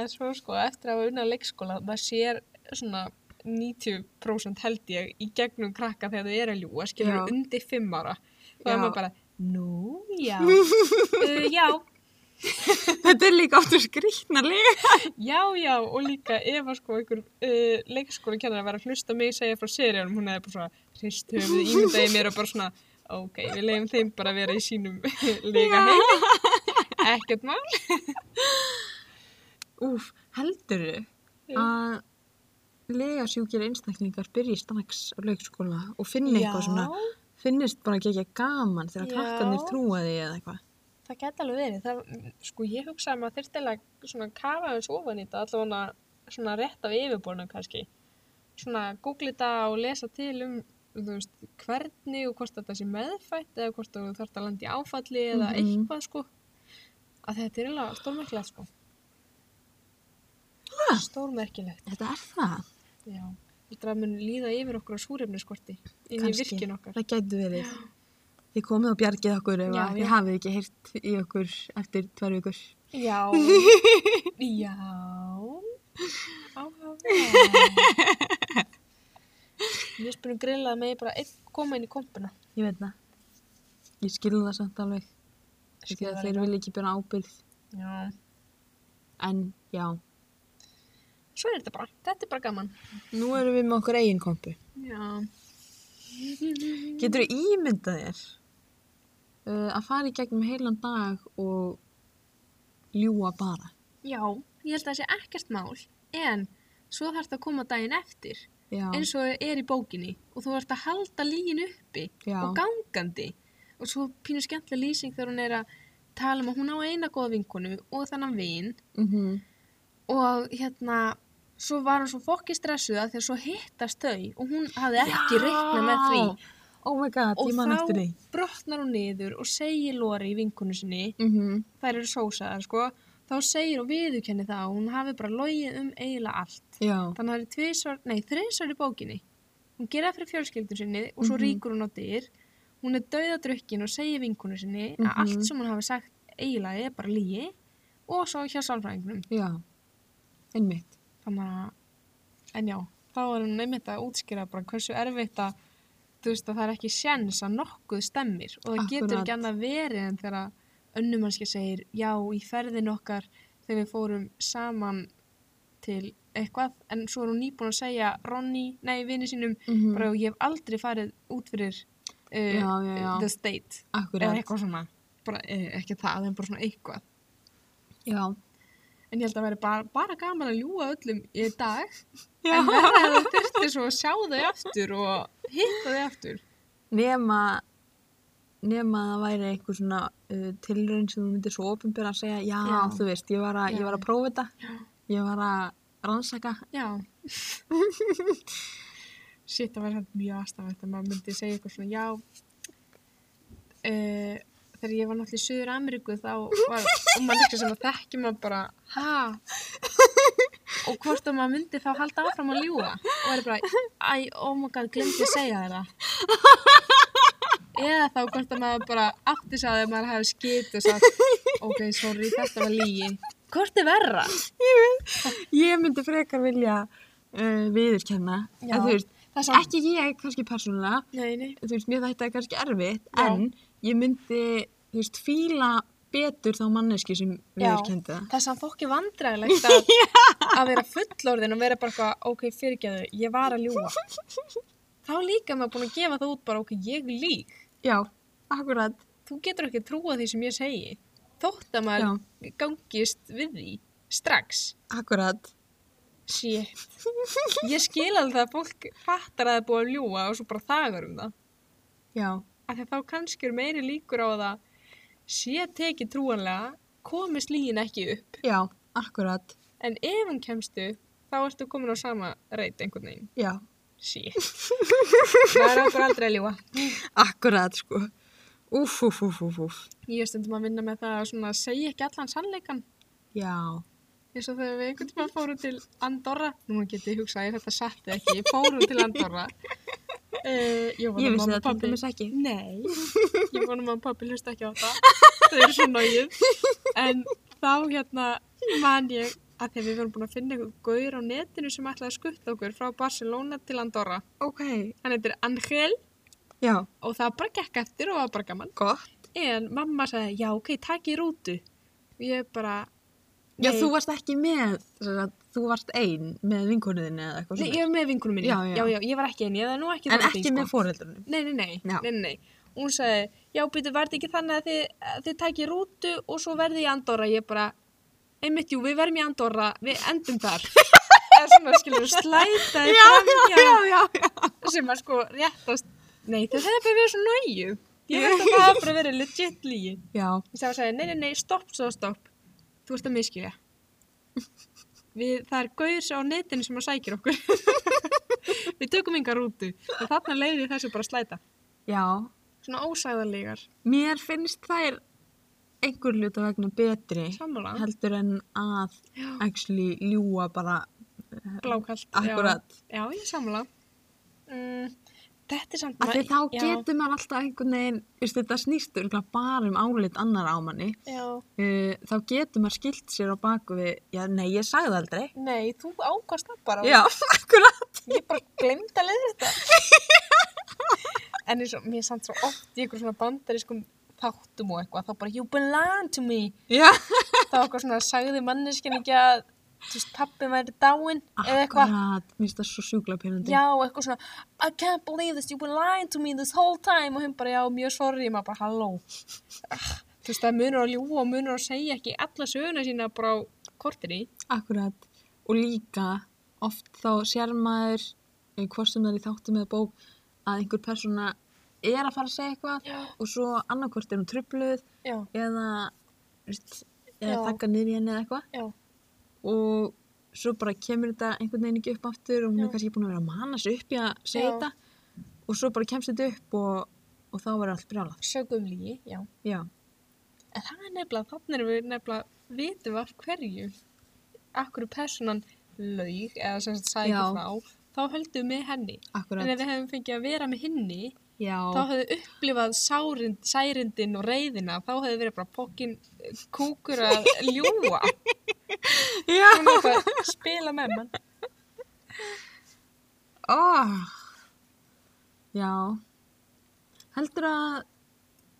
[SPEAKER 2] en svo sko, eftir að hafa unnað leikskóla, maður sér svona 90% held ég í gegnum krakka þegar þau eru að ljúa, skilur
[SPEAKER 1] Já.
[SPEAKER 2] undir 5 ára. Þá
[SPEAKER 1] Já.
[SPEAKER 2] er maður bara, nú, já, uh, já,
[SPEAKER 1] Þetta er líka áttur skrýtnarlega.
[SPEAKER 2] Já, já, og líka ef að sko einhver uh, leikskóla kennar að vera að hlusta á mig segja frá seriðanum, hún hefði bara svona hrist höfuð ímyndaði mér og bara svona ok, við leiðum þeim bara að vera í sínum líka heimi ekkert mál
[SPEAKER 1] Úf, heldurðu að legasjúkir einstaklingar byrji strax á leikskóla og finni eitthvað svona, finnist bara ekki ekki gaman þegar
[SPEAKER 2] Já.
[SPEAKER 1] krakkarnir trúa því eða eitthvað.
[SPEAKER 2] það geta alveg verið það, sko ég hugsaði að maður þyrfti eiginlega svona að kafa eins ofan í þetta allavega svona rétt af yfirborunum kannski svona googla þetta og lesa til um þú veist, hvernig og hvort þetta sé meðfætt eða hvort þú þarft að landa í áfalli eða
[SPEAKER 1] Mhm.
[SPEAKER 2] eitthvað sko að þetta er eiginlega stórmerkilegt sko stórmerkilegt
[SPEAKER 1] Þetta er það,
[SPEAKER 2] já, þetta mun líða yfir okkur á súrefniskorti inn í
[SPEAKER 1] kannski.
[SPEAKER 2] virkin okkar
[SPEAKER 1] Það gætu verið. Þið komið og bjargið okkur ef
[SPEAKER 2] Já,
[SPEAKER 1] að þið
[SPEAKER 2] já.
[SPEAKER 1] hafið ekki heyrt í okkur eftir tvær vikur.
[SPEAKER 2] Já. Já. Áhuga. Við spyrum grillað með bara einn koma inn í kompuna.
[SPEAKER 1] Ég veit það. Ég skilur það samt alveg.
[SPEAKER 2] Skil
[SPEAKER 1] Skilur
[SPEAKER 2] það
[SPEAKER 1] þeir
[SPEAKER 2] líka.
[SPEAKER 1] vilja ekki byrja ábyrð.
[SPEAKER 2] Já.
[SPEAKER 1] En já,
[SPEAKER 2] Svo er þetta bara. Þetta er bara gaman.
[SPEAKER 1] nú erum við með okkur eigin kompu.
[SPEAKER 2] Já.
[SPEAKER 1] Getur þú ímyndað þér uh, að fara í gegnum heilan dag og ljúa bara?
[SPEAKER 2] Já, ég held að það sé ekkert mál. En svo þarf þetta að koma daginn eftir.
[SPEAKER 1] Já,
[SPEAKER 2] eins og er í bókinni og þú ert að halda lígin uppi
[SPEAKER 1] Já.
[SPEAKER 2] og gangandi og svo pínu skemmtileg lýsing þegar hún er að tala um að hún á eina góða vinkonu og þannan vin
[SPEAKER 1] mm
[SPEAKER 2] og hérna svo var hún svo fokki stressuð að þegar svo hittast þau og hún hafði ekki reiknað með því
[SPEAKER 1] Oh my god,
[SPEAKER 2] og
[SPEAKER 1] ég man eftir því.
[SPEAKER 2] þá brotnar hún niður og segir Lóri í vinkonu sinni
[SPEAKER 1] Mm
[SPEAKER 2] þær eru sósaðar sko þá segir og viðurkenni það að hún hafi bara logið um eiginlega allt
[SPEAKER 1] Já,
[SPEAKER 2] Þannig að það eru tvisvar, nei, þrisvar í bókinni. Hún gera það fyrir fjölskyldun sinni og svo
[SPEAKER 1] Mhm.
[SPEAKER 2] ríkur hún á dyr. hún er dauðadrukkin og segir vinkonu sinni að
[SPEAKER 1] Mhm.
[SPEAKER 2] allt sem hún hafi sagt eiginlega er bara lígi og svo hjá sálfræðingnum.
[SPEAKER 1] já, einmitt.
[SPEAKER 2] Þannig að, en já, þá er hún einmitt að útskýra bara hversu erfitt að, þú veist, að það er ekki sjens að nokkuð stemmir og það getur
[SPEAKER 1] Akkúrat.
[SPEAKER 2] ekki annað verið en þegar önnumannski segir, já, í ferðin okkar þegar við fórum saman til eitthvað, en svo er hún nýbúin að segja Ronny, nei, vini sínum,
[SPEAKER 1] Mm -hmm.
[SPEAKER 2] bara ég hef aldrei farið út fyrir uh,
[SPEAKER 1] já, já, já,
[SPEAKER 2] the state eða
[SPEAKER 1] akkurat.
[SPEAKER 2] eitthvað svona bara, eh, ekki það, en bara svona eitthvað
[SPEAKER 1] Já,
[SPEAKER 2] en ég held að vera bara, bara gaman að ljúga öllum í dag
[SPEAKER 1] já.
[SPEAKER 2] en verða að það þurfti svo að sjá þau aftur og hitta þau aftur
[SPEAKER 1] Nema, nema að það væri einhver svona uh, tilraun sem þú myndir svo ofinbjörn að segja, já,
[SPEAKER 2] Já.
[SPEAKER 1] þú veist, ég var, a,
[SPEAKER 2] Já.
[SPEAKER 1] ég var að prófa þetta, ég var að rannsaka.
[SPEAKER 2] já shit, það væri samt mjög aðstafætt að maður myndi segja eitthvað svona já uh, þegar ég var náttúrulega í Suður Ameríku þá var og maður líka sem að þekki maður bara ha og hvort að maður myndi þá halda áfram að ljúga og er bara, æ, oh my god, glemdi að segja þér það eða þá hvort að maður bara átti sig að þegar maður hafi skipt og sagt ok, sorry, þetta var lígi hvort er verra?
[SPEAKER 1] Ég myndi frekar vilja uh, viðurkenna,
[SPEAKER 2] Já.
[SPEAKER 1] en þú veist,
[SPEAKER 2] það er samt,
[SPEAKER 1] ekki ég kannski persónulega,
[SPEAKER 2] nei, nei
[SPEAKER 1] þú veist, mér þetta er kannski erfitt,
[SPEAKER 2] Já.
[SPEAKER 1] en ég myndi, þú veist, fíla betur þá manneski sem viðurkendi það.
[SPEAKER 2] Það er samt fólki vandræðilegt að, að vera fullorðin og vera bara eitthvað, ok, fyrirgeðu, ég var að ljúga. Þá er líka maður búin að gefa það út bara, ok, ég lík.
[SPEAKER 1] Já, akkurat.
[SPEAKER 2] Þú getur ekki trúa því sem ég segi. Þótt að maður gangist við því strax.
[SPEAKER 1] Akkurat.
[SPEAKER 2] Shit. Ég skil alveg að fólk fattar að það er búið að ljúga og svo bara þagar um það.
[SPEAKER 1] Já,
[SPEAKER 2] Af því að þá kannski er meiri líkur á að það sé tekið trúanlega, komist lígin ekki upp.
[SPEAKER 1] já, akkurat.
[SPEAKER 2] En ef hann kemst upp, þá ertu komin á sama reyt einhvern veginn.
[SPEAKER 1] Já,
[SPEAKER 2] Shit. Maður áttur aldrei að ljúa.
[SPEAKER 1] akkurat sko. Úf, úf, úf, úf, úf.
[SPEAKER 2] Ég er stundum að vinna með það að svona segja ekki allan sannleikan.
[SPEAKER 1] Já,
[SPEAKER 2] Eins og þegar við einhvern tíma fórum til Andorra. Nú geti ég hugsað, ég þetta satt eða ekki. Ég fórum til Andorra. Uh, ég
[SPEAKER 1] ég
[SPEAKER 2] vona
[SPEAKER 1] vissi þetta
[SPEAKER 2] mamma og
[SPEAKER 1] til
[SPEAKER 2] pabbi.
[SPEAKER 1] dæmis ekki.
[SPEAKER 2] Nei. Ég vona mamma og pabbi hlusta ekki á það. Þau eru svo náið. En þá hérna man ég að þegar við vorum búin að finna einhvern gauður á netinu sem ætlaði að skutta okkur frá Barcelona til Andorra.
[SPEAKER 1] Ok.
[SPEAKER 2] hann heitir Angel
[SPEAKER 1] Já,
[SPEAKER 2] og það bara gekk eftir og var bara gaman
[SPEAKER 1] gott.
[SPEAKER 2] en mamma sagði, já ok, takk í rútu og ég bara
[SPEAKER 1] Já,
[SPEAKER 2] Nei.
[SPEAKER 1] þú varst ekki með, sem sagt, þú varst ein með vinkonuðinni eða eitthvað
[SPEAKER 2] nei, ég var með vinkunum minni,
[SPEAKER 1] Já, já.
[SPEAKER 2] ég var ekki eini ég það er nú ekki
[SPEAKER 1] En
[SPEAKER 2] þarna
[SPEAKER 1] ekki sko.
[SPEAKER 2] því,
[SPEAKER 1] með foreldrunum.
[SPEAKER 2] nei, nei, nei,
[SPEAKER 1] Já.
[SPEAKER 2] nei, nei, nei. Og hún sagði, já býtu, var þetta ekki þannig að þið, að þið takk í rútu og svo verði í Andorra ég bara, einmitt jú, við verðum í Andorra við endum þar eða svona skilur slæta í framhjá
[SPEAKER 1] já, já.
[SPEAKER 2] sem að sko réttast nei, þau hefði bara verið svo næju ég veist að það hafa bara verið legit lígi
[SPEAKER 1] Já,
[SPEAKER 2] Ég sagði að segja, nei, nei, nei, stopp, svo stopp. Þú ert að miskilja. Við, það er gauðs á netinu sem að sækir okkur. við tökum yngar rútu. En þarna leiði þessu bara að slæta.
[SPEAKER 1] já.
[SPEAKER 2] Svona ósæðarlegar.
[SPEAKER 1] Mér finnst þær einhver hluta vegna betri
[SPEAKER 2] Sammála.
[SPEAKER 1] heldur en að actually ljúa bara
[SPEAKER 2] Blákallt.
[SPEAKER 1] akkurat.
[SPEAKER 2] Já, já ég er sammála. Mm, þetta er samt...
[SPEAKER 1] Af því þá
[SPEAKER 2] já,
[SPEAKER 1] getur maður alltaf einhvern veginn, veist, þetta snýst örugglega bara um álit annar á manni.
[SPEAKER 2] Já,
[SPEAKER 1] Uh, þá getur maður skilt sér á baku við, já, nei, ég sagði það aldrei.
[SPEAKER 2] nei, þú ákast það bara.
[SPEAKER 1] Já, akkurat.
[SPEAKER 2] Ég bara glemd að leiða þetta. en eins og, mér er samt svo oft í einhver svona bandarískum þáttum og eitthvað, þá bara, you belong to me.
[SPEAKER 1] Já,
[SPEAKER 2] það var eitthvað svona sagði manneskinn ekki að þú veist, pappi væri dáinn eða eitthvað
[SPEAKER 1] akkurat. Mér finnst það svo sjúkla pyrrandi.
[SPEAKER 2] já, eitthvað svona I can't believe this, you've been lying to me this whole time og hún bara, já, mjög sorry, maður bara, halló Ah, þú veist, það munur að ljúa og munur að segja ekki alla söguna sína bara á korteri
[SPEAKER 1] Akkurat. Og líka, oft þá sér maður, eh, hvort sem það er í þáttum eða bók, að einhver persóna er að fara að segja eitthvað
[SPEAKER 2] já,
[SPEAKER 1] og svo annarkvort er hún trubluð
[SPEAKER 2] já,
[SPEAKER 1] eða, veist, eða
[SPEAKER 2] Já.
[SPEAKER 1] þakka niður í henni eða eitthvað.
[SPEAKER 2] já,
[SPEAKER 1] og svo bara kemur þetta einhvern veginn ekki upp aftur og hún
[SPEAKER 2] Já.
[SPEAKER 1] er kannski búin að vera að mana sig upp í að segja
[SPEAKER 2] Já.
[SPEAKER 1] þetta og svo bara kemst þetta upp og, og þá verður allt brjálað.
[SPEAKER 2] sögum lígi, um já
[SPEAKER 1] Já,
[SPEAKER 2] en það er nefnilega, þannig erum við nefnilega vitum við af hverju af hverju personan laug eða sem sagt sagði
[SPEAKER 1] Já.
[SPEAKER 2] ekki frá þá höldum við henni En
[SPEAKER 1] akkurat.
[SPEAKER 2] ef við hefum fengið að vera með hinni,
[SPEAKER 1] Já.
[SPEAKER 2] þá hefði upplifað sárind, særindin og reyðina, þá hefði verið bara pokkin kúkur að ljúa
[SPEAKER 1] Já.
[SPEAKER 2] svona eitthvað spila með mann
[SPEAKER 1] Oh. Já. Heldur að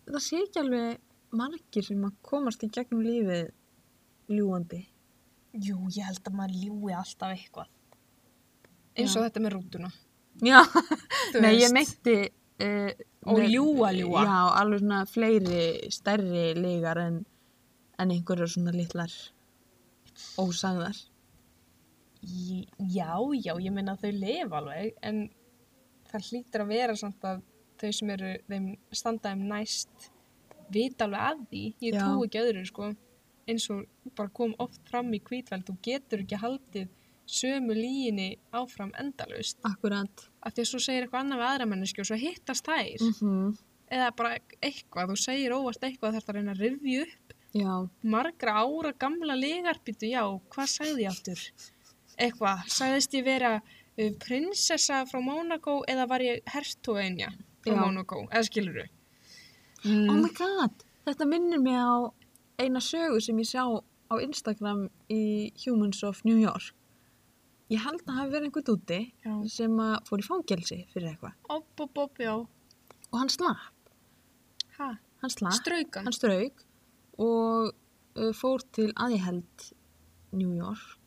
[SPEAKER 1] það sé ekki alveg margir sem að komast í gegnum lífið ljúandi.
[SPEAKER 2] Jú, ég held að maður ljúi alltaf eitthvað eins og þetta með rútuna
[SPEAKER 1] Já.
[SPEAKER 2] Þú
[SPEAKER 1] Nei, ég
[SPEAKER 2] veist.
[SPEAKER 1] meinti... Uh,
[SPEAKER 2] Og ljúga, ljúga.
[SPEAKER 1] Já, alveg svona fleiri stærri lígar en, en einhverjar svona litlar ósagðar.
[SPEAKER 2] Í- Já, já, ég meina að þau lifa alveg en það hlýtur að vera samt að þau sem eru þeim standaðum næst vita alveg að því, ég
[SPEAKER 1] Já.
[SPEAKER 2] trú ekki öðru sko, eins og bara kom oft fram í kvítvæld, þú getur ekki haldið sömu líginni áfram endalaust,
[SPEAKER 1] Akkurat.
[SPEAKER 2] af því að svo segir eitthvað annað við aðra menneski og svo hittast þær Mhm.
[SPEAKER 1] -hmm.
[SPEAKER 2] eða bara eitthvað, þú segir óvart eitthvað þarf að reyna að rifja upp
[SPEAKER 1] Já.
[SPEAKER 2] margra ára gamla legarbítu, já, hvað sagði ég aftur? Eitthvað, sagðist ég vera uh, prinsessa frá Mónakó eða var ég hertogenja frá
[SPEAKER 1] Já.
[SPEAKER 2] Mónakó, eða skilur þú? Mm.
[SPEAKER 1] Oh my god, þetta minnir mig á eina sögu sem ég sjá á Instagram í Humans of New York. Ég held að hafi verið einhver dúti
[SPEAKER 2] Já.
[SPEAKER 1] sem að fór í fangelsi fyrir eitthvað.
[SPEAKER 2] Opp, opp, opp, já.
[SPEAKER 1] Og hann slapp,
[SPEAKER 2] Ha,
[SPEAKER 1] hann slapp,
[SPEAKER 2] straukan.
[SPEAKER 1] hann strauk og uh, fór til aðiheld New York.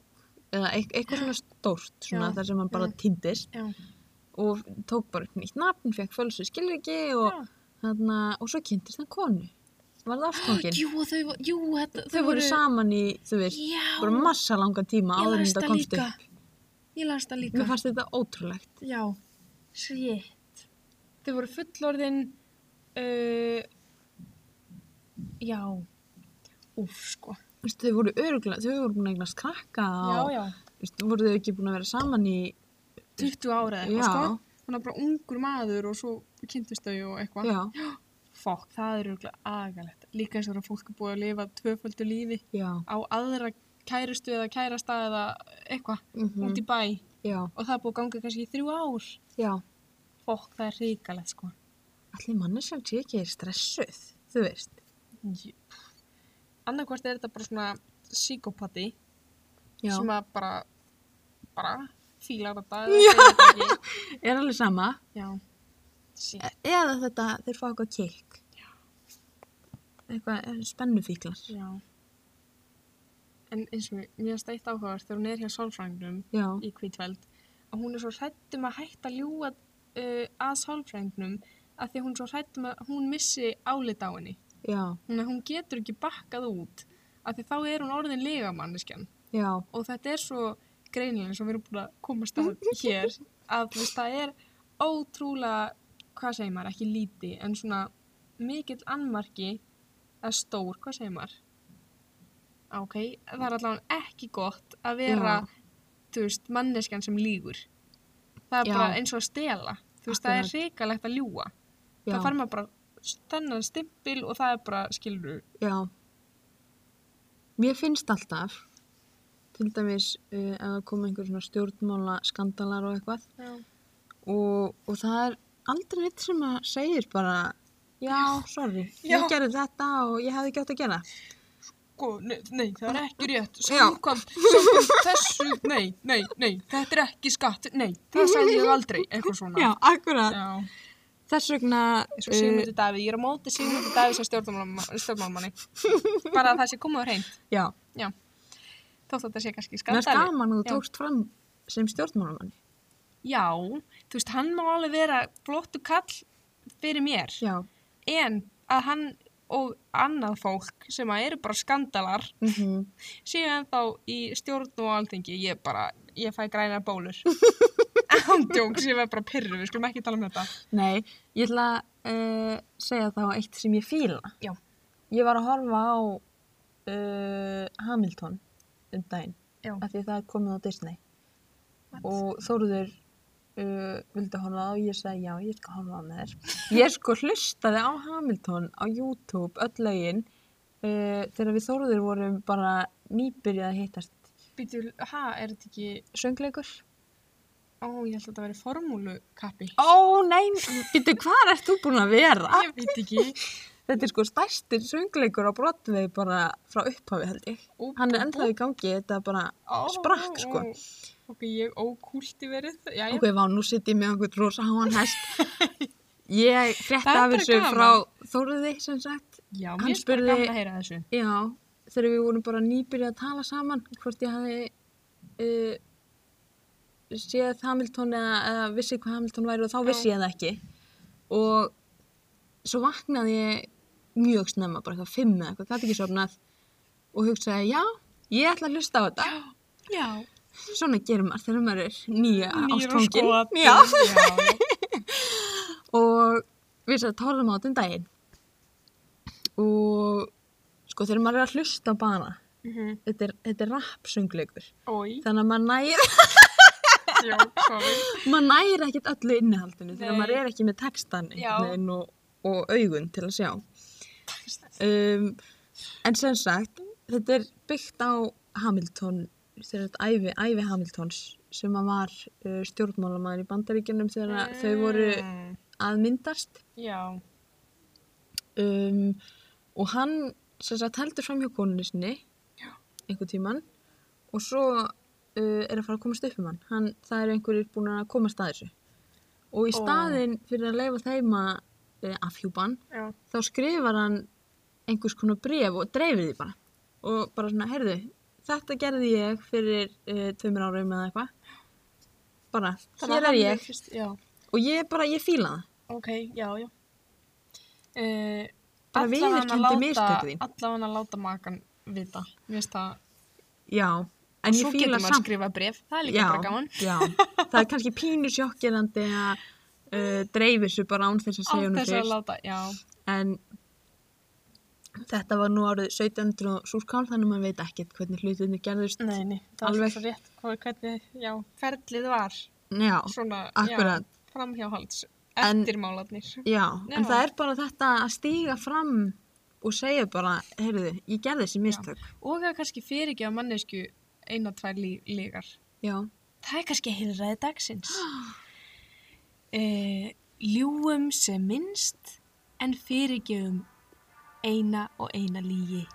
[SPEAKER 1] Eða eit- eitthvað svona stórt, svona
[SPEAKER 2] Já,
[SPEAKER 1] þar sem hann bara
[SPEAKER 2] já.
[SPEAKER 1] týndist
[SPEAKER 2] Já,
[SPEAKER 1] og tók bara upp nýtt nafn, fekk fölsu skilriki og,
[SPEAKER 2] já.
[SPEAKER 1] þarna, og svo kynntist hann konu. Var það ástfangin?
[SPEAKER 2] Jú, þau, vo- jú, þetta,
[SPEAKER 1] þau voru saman í, þú veist,
[SPEAKER 2] Já,
[SPEAKER 1] bara massa langan tíma
[SPEAKER 2] ég
[SPEAKER 1] áður en
[SPEAKER 2] las
[SPEAKER 1] þetta
[SPEAKER 2] það
[SPEAKER 1] komst
[SPEAKER 2] líka.
[SPEAKER 1] upp.
[SPEAKER 2] Ég las það líka.
[SPEAKER 1] Mér fannst þetta ótrúlegt.
[SPEAKER 2] Já, shit. Þau voru fullorðin, uh, já, úf, sko.
[SPEAKER 1] Þú veist, Þau voru öruglega, þau voru búin að eignast krakka og
[SPEAKER 2] já.
[SPEAKER 1] þú veist, voru þau ekki búin að vera saman í,
[SPEAKER 2] 20 ára eða
[SPEAKER 1] Já.
[SPEAKER 2] eitthvað, sko. Þannig að bara ungur maður og svo kynntust þau og eitthvað.
[SPEAKER 1] já,
[SPEAKER 2] Fokk, það er örgulega agalegt. Líka eins og þegar fólk er búið að lifa tvöföldu lífi
[SPEAKER 1] já,
[SPEAKER 2] á aðra kærustu eða kærasta eða eitthvað
[SPEAKER 1] mhm,
[SPEAKER 2] út í bæ
[SPEAKER 1] já,
[SPEAKER 2] og það er búið að ganga kannski í þrjú ár.
[SPEAKER 1] já.
[SPEAKER 2] Fokk, það er ríkalegt sko.
[SPEAKER 1] Allir manneskan sé ekki stressuð, þú veist.
[SPEAKER 2] Annarkvært er þetta bara svona psíkopati
[SPEAKER 1] Já,
[SPEAKER 2] sem að bara, bara fílar þetta eða segir þetta ekki.
[SPEAKER 1] er alveg sama.
[SPEAKER 2] Já. Sí.
[SPEAKER 1] E- Eða þetta, þeir fá eitthvað kikk. Eitthvað eh, spennufíklar.
[SPEAKER 2] Já. En eins og mér- mér er stætt áhugavert þegar hún er hjá sálfræðingnum
[SPEAKER 1] Já,
[SPEAKER 2] í Kvítveld að hún er svo hrætt um að hætta að ljúa uh, að sálfræðingnum að því að hún er svo hrætt um að hún missi álit á henni.
[SPEAKER 1] já,
[SPEAKER 2] Hún, hún getur ekki bakkað út að því þá er hún orðin legamanneskjan
[SPEAKER 1] já,
[SPEAKER 2] og þetta er svo greinilega eins og við erum búin að komast á hér að þú veist, það er ótrúlega, hvað segir maður, ekki líti en svona mikill annmarki að stór, hvað segir maður Á, ok, það er allavega ekki gott að vera
[SPEAKER 1] Já.
[SPEAKER 2] þú veist, manneskjan sem lígur það er
[SPEAKER 1] Já.
[SPEAKER 2] bara eins og að stela þú veist, það er
[SPEAKER 1] Akkurat.
[SPEAKER 2] hrikalegt að ljúga
[SPEAKER 1] já,
[SPEAKER 2] það fær maður bara þennan stimpil og það er bara, skilur
[SPEAKER 1] já. Mér finnst alltaf, til dæmis uh, ef það koma einhver svona stjórnmála skandalar og eitthvað,
[SPEAKER 2] já,
[SPEAKER 1] og, og það er aldrei neitt sem að segir bara já, sorry, ég
[SPEAKER 2] Já.
[SPEAKER 1] gerði þetta og ég hefði gjótt að gera
[SPEAKER 2] sko, nei, nei, það er ekki rétt,
[SPEAKER 1] Já.
[SPEAKER 2] samkvæmt, samkvæmt þessu, nei, nei, nei, þetta er ekki skatt, nei, það sagði ég aldrei, eitthvað svona.
[SPEAKER 1] akkurat
[SPEAKER 2] Já. Eh.
[SPEAKER 1] Þess vegna
[SPEAKER 2] Svo Sigmundur Davíð, ég er á móti Sigmundur Davíð sem stjórnmálmanni, bara að það sé komið á reynd,
[SPEAKER 1] eh, já,
[SPEAKER 2] þótt að þetta sé kannski
[SPEAKER 1] mér er
[SPEAKER 2] skattalega.
[SPEAKER 1] gaman að þú
[SPEAKER 2] Já.
[SPEAKER 1] tókst fram sem stjórnmálamann
[SPEAKER 2] Já, þú veist, hann má alveg vera flottu kall fyrir mér,
[SPEAKER 1] Já,
[SPEAKER 2] en að hann og annað fólk sem að eru bara skandalar
[SPEAKER 1] mm
[SPEAKER 2] séu ennþá í stjórn og alþingi ég bara, ég fæ græna bólur ándjóks, ég verð bara pyrru við skulum ekki tala um þetta
[SPEAKER 1] nei, ég ætla að uh, segja þá eitt sem ég fíla
[SPEAKER 2] Já.
[SPEAKER 1] Ég var að horfa á uh, Hamilton um daginn
[SPEAKER 2] Já.
[SPEAKER 1] af því að það er komið á Disney og Þóruður uh, vildi horfa á og ég sagði já, ég skal horfa á með þér ég sko hlustaði á Hamilton á YouTube öll lögin uh, þegar við Þóruður vorum bara nýbyrjað að hittast
[SPEAKER 2] býtu, ha, er þetta ekki
[SPEAKER 1] söngleikur
[SPEAKER 2] Ó, ég held að þetta væri formúlukappi.
[SPEAKER 1] Ó, nei, býttu, hvað ert þú búin að vera?
[SPEAKER 2] Ég veit ekki.
[SPEAKER 1] Þetta er sko stærstir söngleikur á brotnið bara frá upphafi held ég.
[SPEAKER 2] Ó,
[SPEAKER 1] Hann er
[SPEAKER 2] bú,
[SPEAKER 1] ennþá
[SPEAKER 2] bú.
[SPEAKER 1] í gangi, þetta er bara,
[SPEAKER 2] Ó,
[SPEAKER 1] sprakk, sko.
[SPEAKER 2] ó. Ok, ég ókúlti verið. Já, já.
[SPEAKER 1] ok, vá, nú sitt ég með einhvern rosa háan hest. Ég frétti
[SPEAKER 2] Það er
[SPEAKER 1] af
[SPEAKER 2] bara
[SPEAKER 1] þessu
[SPEAKER 2] gaman.
[SPEAKER 1] frá Þóruði, sem sagt.
[SPEAKER 2] já
[SPEAKER 1] hann
[SPEAKER 2] mér er bara
[SPEAKER 1] spurði-
[SPEAKER 2] gaman að heyra þessu.
[SPEAKER 1] Já, þegar við vorum bara nýbyrjað að tala saman, hvort ég hafi uh, séð Hamilton eða, eða vissi hvað Hamilton væri og þá vissi ég það ekki. Og svo vaknaði ég mjög snemma, bara eitthvað fimm eða eitthvað, gæti ekki sofnað og hugsaði, já, ég ætla að hlusta á þetta.
[SPEAKER 2] Já.
[SPEAKER 1] Svona gerir maður þegar maður er nýja
[SPEAKER 2] Nýr og
[SPEAKER 1] ástfangin.
[SPEAKER 2] skotin.
[SPEAKER 1] Já.
[SPEAKER 2] já.
[SPEAKER 1] Og við sér að tala um á þetta um daginn. Og sko þegar maður er að hlusta bara,
[SPEAKER 2] Mhm.
[SPEAKER 1] þetta er, þetta er rapsöngleikur.
[SPEAKER 2] Ói,
[SPEAKER 1] Þannig að maður nægir,
[SPEAKER 2] já, komið.
[SPEAKER 1] maður nægir ekkert öllu innihaldinu þegar
[SPEAKER 2] Nei.
[SPEAKER 1] maður er ekki með textan
[SPEAKER 2] Já.
[SPEAKER 1] einhvern veginn og, og augun til að sjá. Um, en sem sagt, þetta er byggt á Hamilton, þegar þetta æfi, æfi Hamiltons sem að var uh, stjórnmálamæður í bandaríkjunum þegar að þau voru
[SPEAKER 2] Mm,
[SPEAKER 1] að myndast.
[SPEAKER 2] Já.
[SPEAKER 1] um, og hann sem sagt heldur fram hjá konunni sinni einhver tíman og svo uh, er að fara að komast upp um hann. hann það er einhverjir búin að komast að þessu og í
[SPEAKER 2] Ó.
[SPEAKER 1] staðinn fyrir að leifa þeim að uh, afhjúpan
[SPEAKER 2] Já.
[SPEAKER 1] þá skrifar hann einhvers konar bref og dreifir því bara og bara svona, heyrðu, þetta gerði ég fyrir uh, tveimur árum eða eitthvað bara, hér er ég
[SPEAKER 2] Fyrst, já,
[SPEAKER 1] og ég bara, ég fíla það
[SPEAKER 2] ok, já, já. Uh,
[SPEAKER 1] Bara viðurkenndi mistök þín.
[SPEAKER 2] Allavega að láta makan vita, mér veist það.
[SPEAKER 1] já, en ég fíla
[SPEAKER 2] Svo getur maður
[SPEAKER 1] samt
[SPEAKER 2] að skrifa bref, það er líka bara gaman.
[SPEAKER 1] já, það er kannski pínu sjokkirandi að uh, dreifir þessu bara án þess að
[SPEAKER 2] Á
[SPEAKER 1] segja honum
[SPEAKER 2] þess að
[SPEAKER 1] fyrst.
[SPEAKER 2] láta, já.
[SPEAKER 1] En þetta var nú árið 1700 og súrkál þannig að maður veit ekkert hvernig hlutinni gerðust.
[SPEAKER 2] Nei, nei, það
[SPEAKER 1] Alveg.
[SPEAKER 2] var svo rétt hvað, hvernig, já, ferlið var.
[SPEAKER 1] Já,
[SPEAKER 2] Svona,
[SPEAKER 1] Akkurat.
[SPEAKER 2] já, framhjáhalds,
[SPEAKER 1] En-
[SPEAKER 2] eftirmálarnir.
[SPEAKER 1] já,
[SPEAKER 2] Já.
[SPEAKER 1] en það er bara þetta að stíga fram og segja bara, heyrðu, ég gerði þessi mistök.
[SPEAKER 2] Og að kannski fyrirgefa mannesku eina, tvær lí, lígar.
[SPEAKER 1] Já,
[SPEAKER 2] Það er kannski heilræði dagsins. Uh, ljúum sem minnst en fyrirgefum eina og eina lígi.